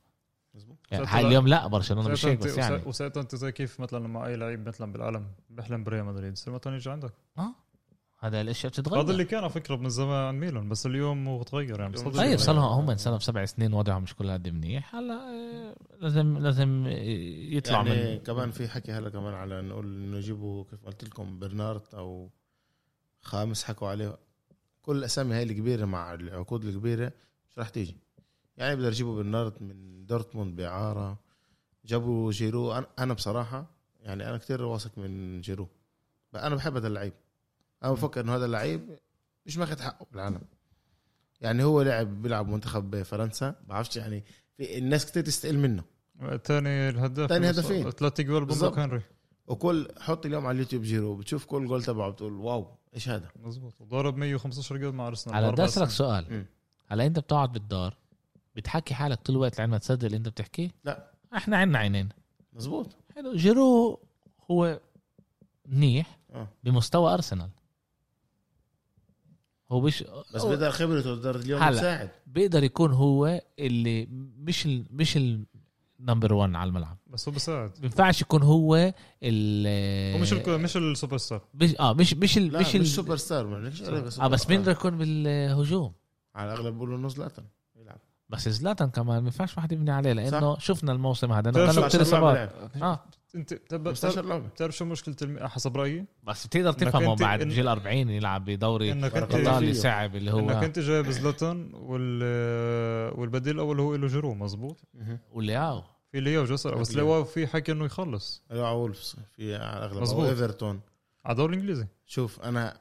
مزبوط يعني ساعتها- اليوم لا برشلونه مش هيك ساعتها بس انت- يعني وسا- وساعتها انت زي كيف مثلا لما اي لعيب مثلا بالعالم بيحلم بريال مدريد يصير مثلا يجي عندك اه هذا الاشياء بتتغير هذا اللي كان على فكره من زمان عن ميلان بس اليوم هو تغير يعني بصدق. طيب صار صار لهم هم انسلم سبع سنين وضعهم مش كل هاد منيح هلا آه، لازم لازم آه، يطلع يعني من كمان في حكي هلا كمان على نقول انه يجيبوا كيف قلت لكم برنارد او خامس حكوا عليه كل الاسامي هاي الكبيره مع العقود الكبيره مش راح تيجي يعني بقدر يجيبوا برنارد من دورتموند باعاره جابوا جيرو أنا- انا بصراحه يعني انا كتير واثق من جيرو بقى انا بحب هذا اللعيب انا بفكر انه هذا اللعيب مش ماخذ حقه بالعالم يعني هو لاعب بيلعب منتخب فرنسا بعرفش يعني في الناس كتير تستقل منه الثاني الهداف تاني اللي صار- هدفين. ثلاث اجوال بالظبط. بومبو هنري وكل حط اليوم على اليوتيوب جيرو بتشوف كل جول تبعه بتقول واو ايش هذا مزبوط ضارب 115 جول مع ارسنال على بدي أربع اسالك سنين. سؤال مم. هلا انت بتقعد بالدار بتحكي حالك طول الوقت لعين ما تصدق اللي انت بتحكيه؟ لا. احنا عنا عينين مزبوط حلو جيرو هو منيح اه بمستوى ارسنال هو مش بس هو بقدر خبرته بقدر اليوم هلا. تساعد بيقدر يكون هو اللي مش ال مش النمبر 1 على الملعب بس هو بيساعد بينفعش يكون هو ال هو إيه. مش الك- مش السوبر ستار مش اه مش مش ال لا مش, مش, ال- سوبر ستار ما لكش عليه اه بس سوبر بيقدر يكون بالهجوم على الاغلب بقولوا انه زلاتان يلعب بس زلاتان كمان ما ينفعش واحد يبني عليه لانه شفنا الموسم هذا انه بتعرف غلب شو- كثير 15 لعبة اصابات لعب. اه انت بتعرف- 15 لعبه بتعرف شو مشكله الم- حسب رايي بس بتقدر إنك تفهمه أنت- بعد إن- جيل 40 يلعب بدوري انك فرق انت ايطالي إيطالي. صعب اللي انك هو انت جايب زلاتان وال والبديل الاول هو له جيرو مزبوط مهم. ولياو في لياو جسر بس لياو. لياو في حكي انه يخلص لو على وولفز في على الاغلب مزبوط. او ايفرتون على الدوري الانجليزي شوف انا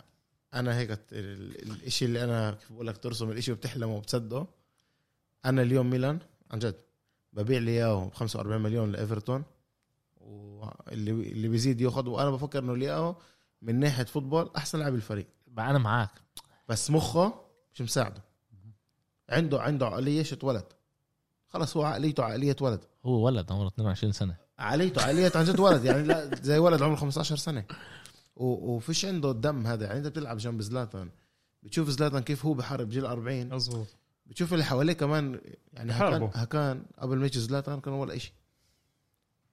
انا هيك ت- ال- الاشي اللي انا كيف بقول لك ترسم الاشي وبتحلمه وبتصدقه انا اليوم ميلان عن جد ببيع لي اياه ب 45 مليون لايفرتون واللي اللي بيزيد ياخذ وانا بفكر انه لياو من ناحيه فوتبول احسن لاعب الفريق بقى انا معاك بس مخه مش مساعده عنده عنده عقليه شو اتولد خلص هو عقليته عقليه ولد هو ولد عمره 22 سنه عقليته عقلية عن جد ولد يعني لا زي ولد عمره 15 سنة و- وفيش عنده الدم هذا يعني انت بتلعب جنب زلاتان بتشوف زلاتان كيف هو بحارب جيل 40 مزبوط بتشوف اللي حواليه كمان يعني هكان, بحاربوا. هكان قبل ما يجي زلاتان كان ولا شيء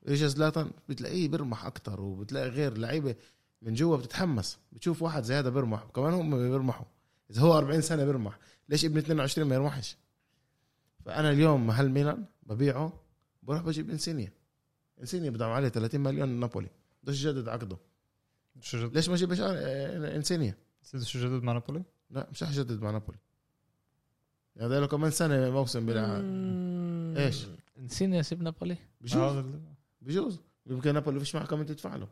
اجى زلاتان بتلاقيه بيرمح اكثر وبتلاقي غير لعيبه من جوا بتتحمس بتشوف واحد زي هذا بيرمح كمان هم بيرمحوا اذا هو 40 سنه بيرمح ليش ابن 22 ما يرمحش فانا اليوم محل ميلان ببيعه بروح بجيب انسينيا انسينيا بدعم عليه 30 مليون نابولي بدوش يجدد عقده شو جد ليش ما اجيبش آه، انسينيا نسيت شو جدد مع نابولي لا مش رح يجدد مع نابولي يعني ده له كمان سنه موسم بيلعب ايش؟ نسينا سيب نابولي آه، بجوز بجوز يمكن نابولي فيش معه كمان تدفع له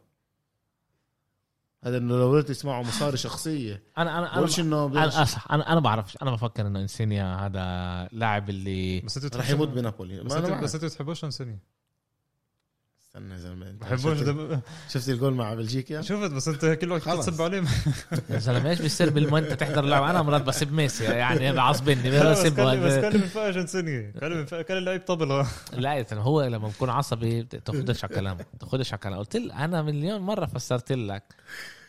هذا انه لو قلت يسمعوا مصاري شخصيه انا انا انا بقولش انه انا بدش- أصح انا انا بعرفش انا بفكر انه انسينيا هذا لاعب اللي بس انت رح يموت بنابولي بس ما انا انت معك. بس انت بتحبوش انسانيا استنى يا زلمه أنت بحبوش شفت- دب... شفت الجول مع بلجيكا شفت بس انت كل وقت خلص. تسب عليه يا زلمه ايش بيصير بالمهم انت تحضر لعبه انا مرات بسيب ميسي يعني بعصبني بس بسيبه كان بس كان من فوق جنسية كان من فوق- كان اللعيب طبلة لا يا زلمة، هو لما بكون عصبي بتاخدش على كلامه بتاخدش على كلامه قلت لك انا مليون مره فسرت لك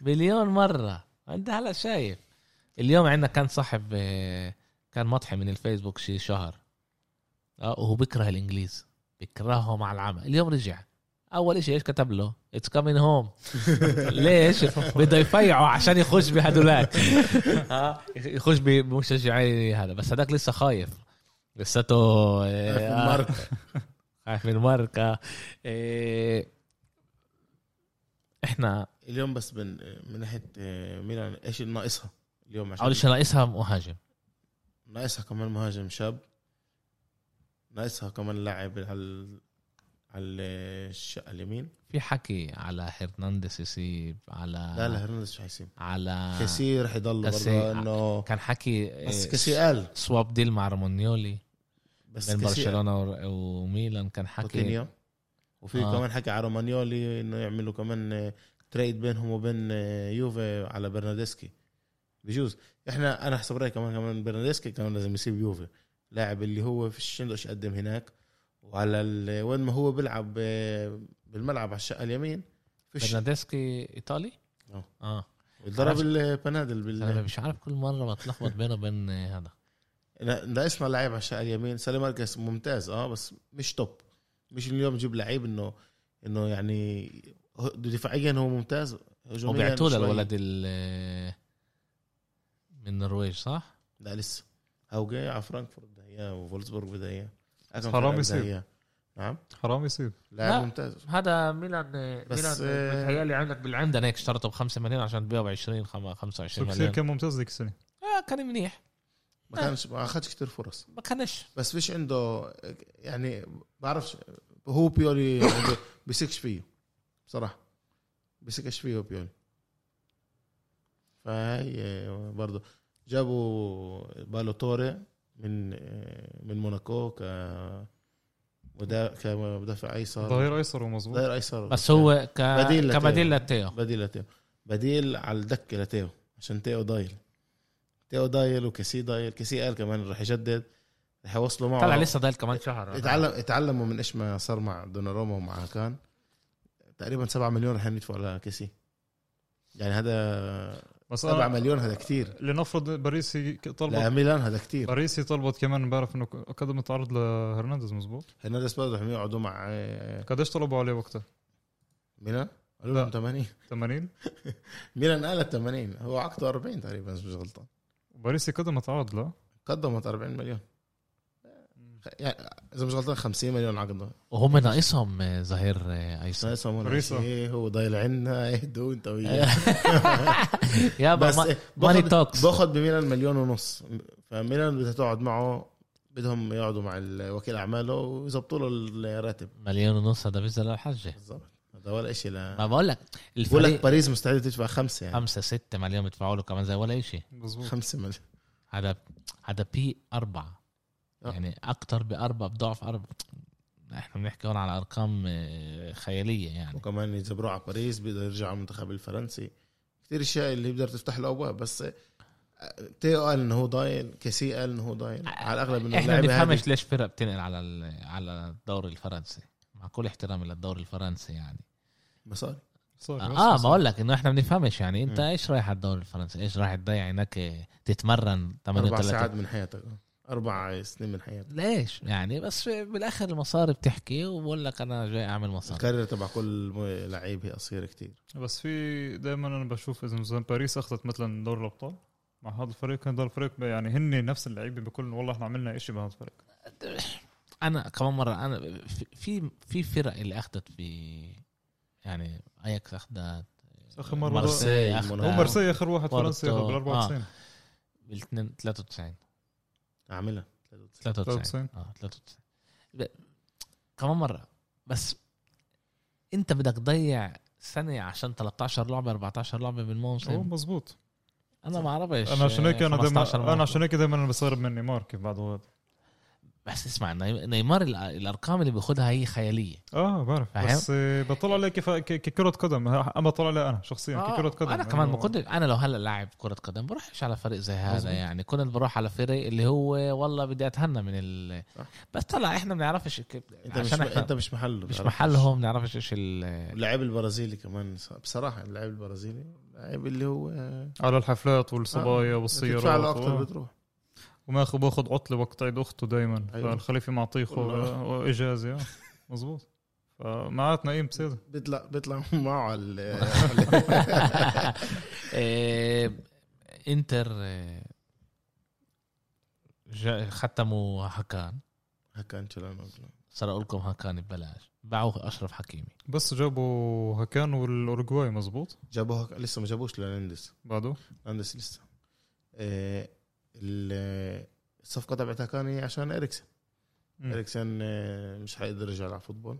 مليون مره انت هلا شايف اليوم عندنا كان صاحب آه، كان مطحي من الفيسبوك شي شهر اه وهو بكره الانجليز بكرههم على العمى اليوم رجع اول شيء ايش كتب له اتس كامين هوم ليش بده يفيعه عشان يخش بهدولاك ها يخش بمشجعي هذا بس هذاك لسه خايف لساته آه، خايف من آه، ماركا. خايف من ماركا إيه احنا اليوم بس من من ناحيه آه، ميلان ايش اللي ناقصها اليوم عشان اول شيء ناقصها مهاجم ناقصها كمان مهاجم شاب ناقصها كمان لاعب على على الشقه اليمين في حكي على هرنانديز يسيب على لا لا هرنانديز شو حيصير آه. على كيسي رح يضل كيسي. برضه انه كان حكي بس إيه، كيسي قال سواب ديل مع رومانيولي بس آه. بين كيسي قال. برشلونه ور- وميلان كان حكي كوتينيو وفي آه. آه. كمان حكى على رومانيولي انه يعملوا كمان آه، تريد بينهم وبين آه، يوفي على برناردسكي بجوز احنا انا حسب رايي كمان كمان برناردسكي كان لازم يسيب يوفي لاعب اللي هو فيش عنده شيء يقدم هناك وعلى ال- وين ما هو بيلعب آه، بالملعب على الشقه اليمين فيش برناردسكي ايطالي آه. اه ضرب البنادل انا آه، بال مش عارف كل مره بتلخبط بينه وبين إيه، هذا لا- ناقصنا لعيب على الشقه اليمين سالي ماركس ممتاز اه بس مش توب مش اليوم جيب لعيب انه انه يعني هو- دفاعيا هو ممتاز هجوميا وبعتوا له شوي. الولد ال- آه، من النرويج صح؟ لا لسه هوجي على فرانكفورت بدها اياه وفولسبورغ بدها اياه أكم حرام فريق بدها يصير. إياه. نعم حرام يصيب لا. لاعب ممتاز هذا ميلان بس، ميلان آه، متهيألي عندك بالعمدة هيك اشترته ب 5 مليون عشان تبيعه ب 20 خم- 25 كثير مليون كان ممتاز ذيك السنة آه كان منيح ما كانش ما اخذش كثير فرص ما كانش بس فيش عنده يعني بعرفش هو بيولي عنده- بيسكش فيه بصراحه بيسكش فيه بيولي فهي برضه جابوا بالوتوري من من موناكو ك مدا- كمدافع ايسر ظهير ايسر ومظبوط ظهير ايسر بس هو ك... بديل لتيو. كبديل لتيو بديل لتيو بديل على الدكه لتيو عشان تيو ضايل تيو ضايل وكسي ضايل كسي قال كمان رح يجدد رح يوصلوا معه طلع لسه ضايل كمان شهر اتعلم اتعلموا من ايش ما صار مع دوناروما ومع كان تقريبا 7 مليون رح يدفعوا على كسي يعني هذا بس 7 أنا مليون هذا كثير لنفرض باريس طلبت لميلان هذا كثير باريس طلبت كمان بعرف انه قد متعرض لهرنانديز مزبوط هرنانديز برضه رح يقعدوا مع آه، قديش طلبوا عليه وقتها؟ ميلان قالوا لهم لا. 80 80 ميلان قالت 80 هو عقده 40 تقريبا إذا مش غلطان باريس قد متعرض لا قدمت 40 مليون يعني اذا مش غلطان 50 مليون عقده وهم ناقصهم آه، ظهير آه، ايسر ناقصهم ولا فريسة. شيء هو ضايل عنا اهدوا انت وياه يا بس آه. إيه، بس ماني باخد توكس باخد بميلان مليون ونص فميلان بدها تقعد معه بدهم يقعدوا مع ال- وكيل اعماله ويظبطوا له الراتب مليون ونص هذا بيزل الحجة بالضبط هذا ولا شيء لا ما بقول لك بقول لك الفريق باريس مستعده تدفع خمسه يعني 5 6 مليون بدفعوا له كمان زي ولا شيء مزبوط خمسه مليون هذا هذا بي أربعة آه. يعني أكتر بأربعة بضعف أربعة احنا بنحكي هون على أرقام آه، خيالية يعني وكمان يجبروه على باريس بده يرجع على المنتخب الفرنسي كثير اشياء اللي بيقدر تفتح له ابواب بس إيه، تيو قال انه هو ضايل كيسي قال انه هو ضايل على الاغلب انه احنا اللاعب هذا بنفهمش ليش فرق بتنقل على ال- على الدوري الفرنسي مع كل احترامي للدوري الفرنسي يعني مصاري صار اه بس- بقول لك انه احنا بنفهمش يعني انت مم. ايش رايح على الدوري الفرنسي ايش رايح تضيع هناك آه، تتمرن اربع ساعات 38 من حياتك اربع سنين من حياتك ليش يعني بس بالاخر المصاري بتحكي وبقول لك انا جاي اعمل مصاري الكارير تبع كل م- لعيب هي قصيره كثير بس في دائما انا بشوف اذا مثلا باريس اخذت مثلا دوري الابطال مع هذا الفريق كان هذا الفريق يعني هن نفس اللعيبه بكل والله احنا عملنا شيء بهذا الفريق انا كمان مره انا في- في في فرق اللي اخذت في يعني اياكس اخذت اخر مره مارسيل. مارسي مارسيل، هو آه. مارسي اخر واحد بورتو. فرنسي اخذ بال 94 بال 93 اعملها 93 93. اه 93 ب- كمان مره بس انت بدك تضيع سنه عشان 13 لعبه 14 لعبه هو بالموسم مزبوط انا ما اعرفش انا عشان هيك انا 15 دائما مرة. انا عشان هيك دائما بستغرب من نيمار كيف بعده هذا بس اسمع ني- نيمار ال- الارقام اللي بياخدها هي خياليه اه بعرف فاهم؟ بس آه، بطلع عليه كيف ك- ككرة قدم ها- اما طلع عليه انا شخصيا آه. ككرة يعني قدم انا كمان إنه- بقدر انا لو هلا لاعب كره قدم بروحش على فريق زي هذا مظبوط. يعني كنت بروح على فريق اللي هو والله بدي اتهنى من ال صح. بس طلع احنا بنعرفش كيف انت مش عشان احنا انت مش محله مش بتعرفش. محلهم بنعرفش ايش ال- اللاعب البرازيلي كمان ص- بصراحه اللاعب البرازيلي اللاعب اللي هو آه، على الحفلات والصبايا تدفع له والسيارات اكثر و- بتروح وماخذ باخذ عطله وقت عيد اخته دائما أيوة. فالخليفه معطيه والله. خو- اجازه آه، مزبوط فمعناتنا ايه بصير بيطلع بيطلع معه على ال- إيه، انتر إيه، جا- ختموا هاكان هكا انشيلوتي صار اقول لكم هاكان ببلاش باعوا اشرف حكيمي بس جابوا هكان والاورجواي مزبوط جابوه هكا- لسه ما جابوش لهرنانديز بعده هرنانديز لسه آه، ال- الصفقه تبعت هكان هي إيه؟ عشان اريكسن مم. اريكسن آه، مش حيقدر يرجع يلعب فوتبول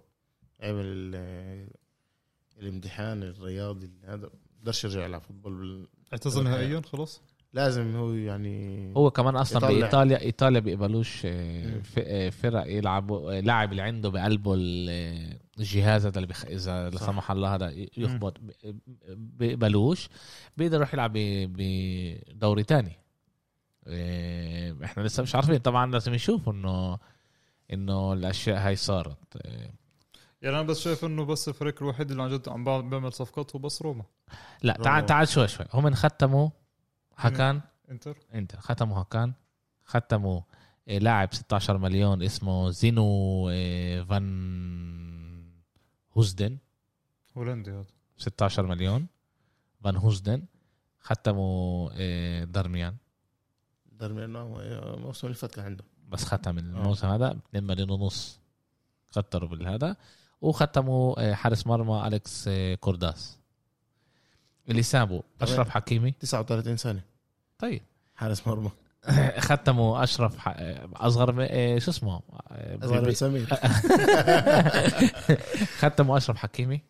عمل ال- الامتحان الرياضي اللي هذا بقدرش يرجع يلعب فوتبول بال- اعتزل نهائيا خلاص لازم هو يعني هو كمان اصلا يطلع. بايطاليا ايطاليا بيقبلوش آه، مم. ف- آه، فرق يلعبوا آه، لاعب اللي عنده بقلبه ال- آه، الجهاز هذا اللي بيخ... اذا لا صح. سمح الله هذا ي- يخبط ب- بيقبلوش بيقدر يروح يلعب ب- بدوري تاني آه، احنا لسه مش عارفين طبعا لازم نشوف انه انه الاشياء هاي صارت آه، يعني انا بس شايف انه بس الفريق الوحيد اللي عن جد عم بع- بيعمل صفقات هو بس روما لا تعال روما. تعال شوي شوي هم ختموا هكان انتر انت ختموا هاكان ختموا آه، لاعب 16 مليون اسمه زينو آه، فان هوزدن هولندي هذا 16 مليون فان هوزدن ختموا آه، دارميان دارميان هو موسم اللي فات كان عنده بس ختم الموسم هذا 2 مليون ونص كتروا بالهذا وختموا آه، حارس مرمى اليكس آه، كورداس اللي سابوا اشرف حكيمي 39 سنه طيب حارس مرمى ختموا اشرف ح- آه، اصغر م- آه، شو اسمه آه، اصغر من سمير ختموا اشرف حكيمي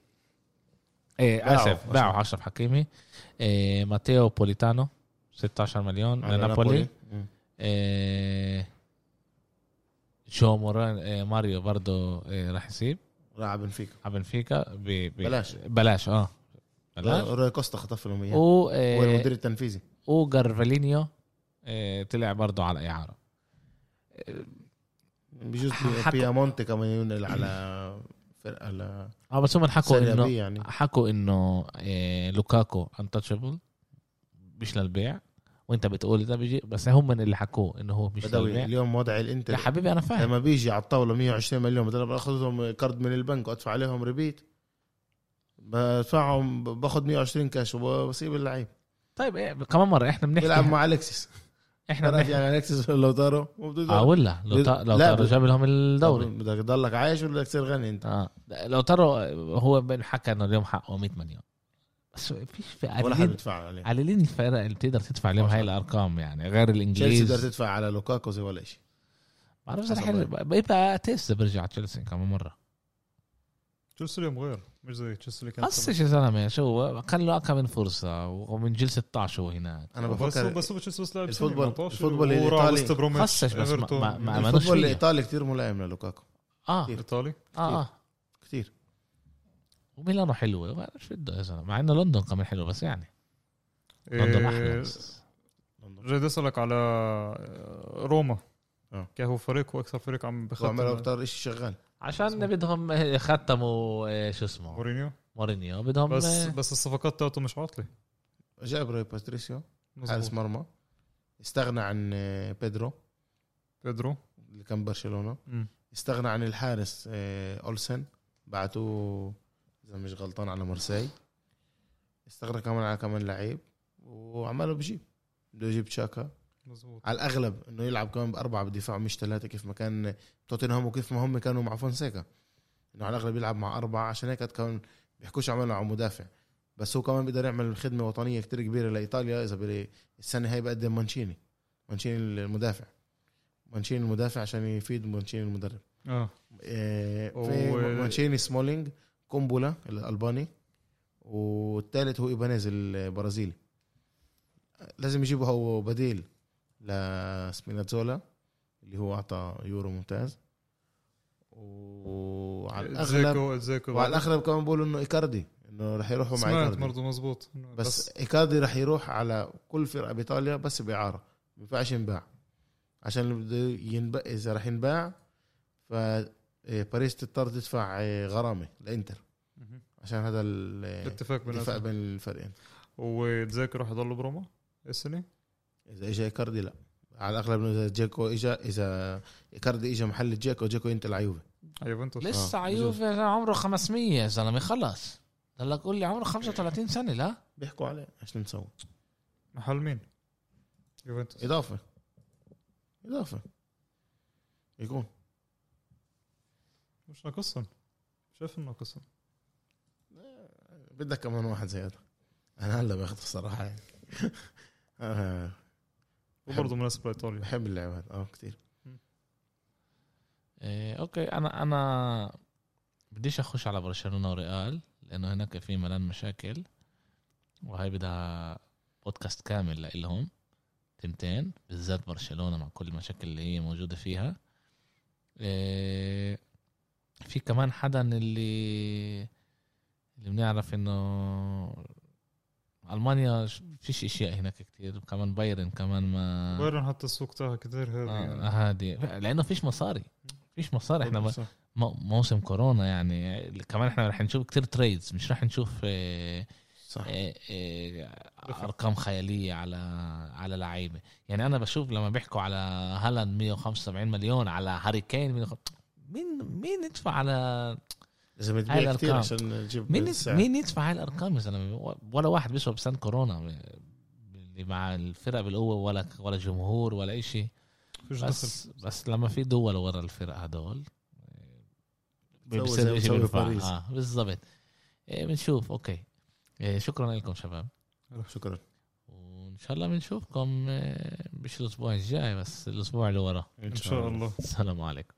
ايه باعوا اسف باعوا اشرف حكيمي إيه ماتيو بوليتانو 16 مليون على لنابولي مم. إيه جو موران إيه ماريو برضه إيه راح يسيب راح بنفيكا على بنفيكا ب- ب- بلاش. آه، بلاش اه بلاش روي كوستا خطف لهم اياه و هو إيه المدير التنفيذي وجارفالينيو إيه طلع برضه على الاعاره بجوز حكوا- بيامونتي كمان ينقل على فرقه على اه بس هم حكوا سيريا انه بي يعني حكوا انه إيه، لوكاكو انتشبل مش للبيع وانت بتقول ده بيجي بس هم من اللي حكوه انه هو مش بدوي للبيع اليوم وضع يا الانتر حبيبي انا فاهم لما بيجي على الطاوله 120 مليون بدل ما اخذهم كارد من البنك وادفع عليهم ريبيت بدفعهم باخذ 120 كاش وبسيب اللعيب طيب إيه كمان مره احنا بيلعب بنحكي مع الكسس احنا راجع بنحكي على الكسس يعني لوتارو اه ولا لو تا- لو لا، تارو بد- جاب لهم الدوري بدك تضلك عايش ولا بدك تصير غني انت اه لو تارو هو بن- حكى انه اليوم حقه 100 مليون بس فيش في ولا حد قليلين بيدفع عليه قليلين الفرق اللي بتقدر تدفع لهم هاي الارقام يعني غير تشيلسي تقدر الانجليز تدفع على لوكاكو زي ولا شيء بعرفش حسب حلو بيبقى تيست برجع على تشيلسي كمان مره تشيلسي اليوم غير مش زي تشيلسي اللي كان قصش يا زلمه شو كان له اكم من فرصه ومن جيل 16 هو هناك انا بس هو بفكر بس هو تشيلسي بس لعب الفوتبول- الفوتبول الفوتبول الايطالي الإيطالي. وست بروميتش قصش بس ما- إيفرتون. ما- آه، ما- عملوش الفوتبول فيها. الايطالي كثير ملائم للوكاكو اه كتير. ايطالي اه اه كثير وميلانو حلوه ما بعرف شو بده يا زلمه مع انه لندن كمان حلو بس يعني لندن احلى إيه، بس جاي بدي اسالك على روما آه. كهو فريق واكثر فريق عم وعملوا بخطط اكثر شيء شغال عشان بدهم آه، ختموا آه، شو اسمه مورينيو مورينيو بدهم بس آه، بس الصفقات تاعته مش عاطله جاب روي باتريسيو حارس مزبوط. مرمى استغنى عن آه، بيدرو بيدرو اللي كان برشلونه مم. استغنى عن الحارس آه، اولسن بعتوه اذا مش غلطان على مرسي استغنى كمان على كمان لعيب وعمله بجيب بده يجيب تشاكا مزبوط على الاغلب انه يلعب كمان باربعه بدفاع مش ثلاثه كيف ما كان توتنهام وكيف ما هم كانوا مع فونسيكا انه على الاغلب يلعب مع اربعه عشان هيك كمان بيحكوش عمله على مدافع بس هو كمان بيقدر يعمل خدمه وطنيه كتير كبيره لايطاليا اذا بي- السنه هاي بقدم مانشيني مانشيني المدافع مانشيني المدافع عشان يفيد مانشيني المدرب اه إيه، في و- مانشيني سمولينج كومبولا الالباني والثالث هو ايبانيز البرازيلي لازم يجيبوا هو بديل لسبيناتزولا اللي هو اعطى يورو ممتاز وعلى الاغلب زيكو زيكو وعلى الاغلب كمان بيقولوا انه ايكاردي انه رح يروحوا مع سمعت ايكاردي برضه مزبوط إنه بس ايكاردي رح يروح على كل فرقه بايطاليا بس باعاره ما ينفعش ينباع عشان اللي بده ينباع اذا رح ينباع ف إيه، باريس تضطر تدفع إيه، غرامه لانتر مهم. عشان هذا ال- الاتفاق الاتفاق بين بين الفريقين وتذاكر راح يضلوا بروما السنه اذا اجى ايكاردي لا على الاغلب انه اذا جيكو اجى اذا ايكاردي اجى محل جيكو جيكو ينتقل على يوفي يوفنتوس لسه آه، على بجوز. يوفي عمره 500 يا زلمه خلص ضلك قول لي عمره 35 سنه لا بيحكوا عليه عشان نسوي محل مين؟ يوفنتوس اضافه اضافه يكون مش ناقصهم شايف انه ناقصهم بدك كمان واحد زي هذا انا هلا باخذه الصراحه يعني أنا وبرضه مناسب لايطاليا بحب اللعب هذا اه كثير إيه اوكي انا انا بديش اخش على برشلونه وريال لانه هناك في ملان مشاكل وهي بدها بودكاست كامل لإلهم تنتين بالذات برشلونه مع كل المشاكل اللي هي موجوده فيها إيه في كمان حدا اللي اللي بنعرف انه المانيا ش- فيش اشياء هناك كتير كمان بايرن كمان ما بايرن حتى السوق تاعها كثير هادي آه، يعني. هادي لانه فيش مصاري فيش مصاري احنا ما- صح. مو- موسم كورونا يعني كمان احنا رح نشوف كتير تريدز مش رح نشوف آه، صح آه، آه، ارقام خياليه على على لعيبه يعني انا بشوف لما بيحكوا على هالاند 175 مليون على هاري كين 105 مين مين يدفع على لازم هذا تبيع كثير الكلام. عشان نجيب مين السعر. مين يدفع هاي الارقام يا زلمه ولا واحد بيسوى بسنه كورونا اللي مع الفرق بالقوه ولا ولا جمهور ولا إشي فيش دخل بس بس لما في دول ورا الفرق هدول سوي بصير زي- إشي سوي بينفع. باريس. اه بالضبط إيه بنشوف اوكي إيه شكرا لكم شباب شكرا وان شاء الله بنشوفكم إيه، مش الاسبوع الجاي بس الاسبوع اللي وراه ان شاء الله السلام عليكم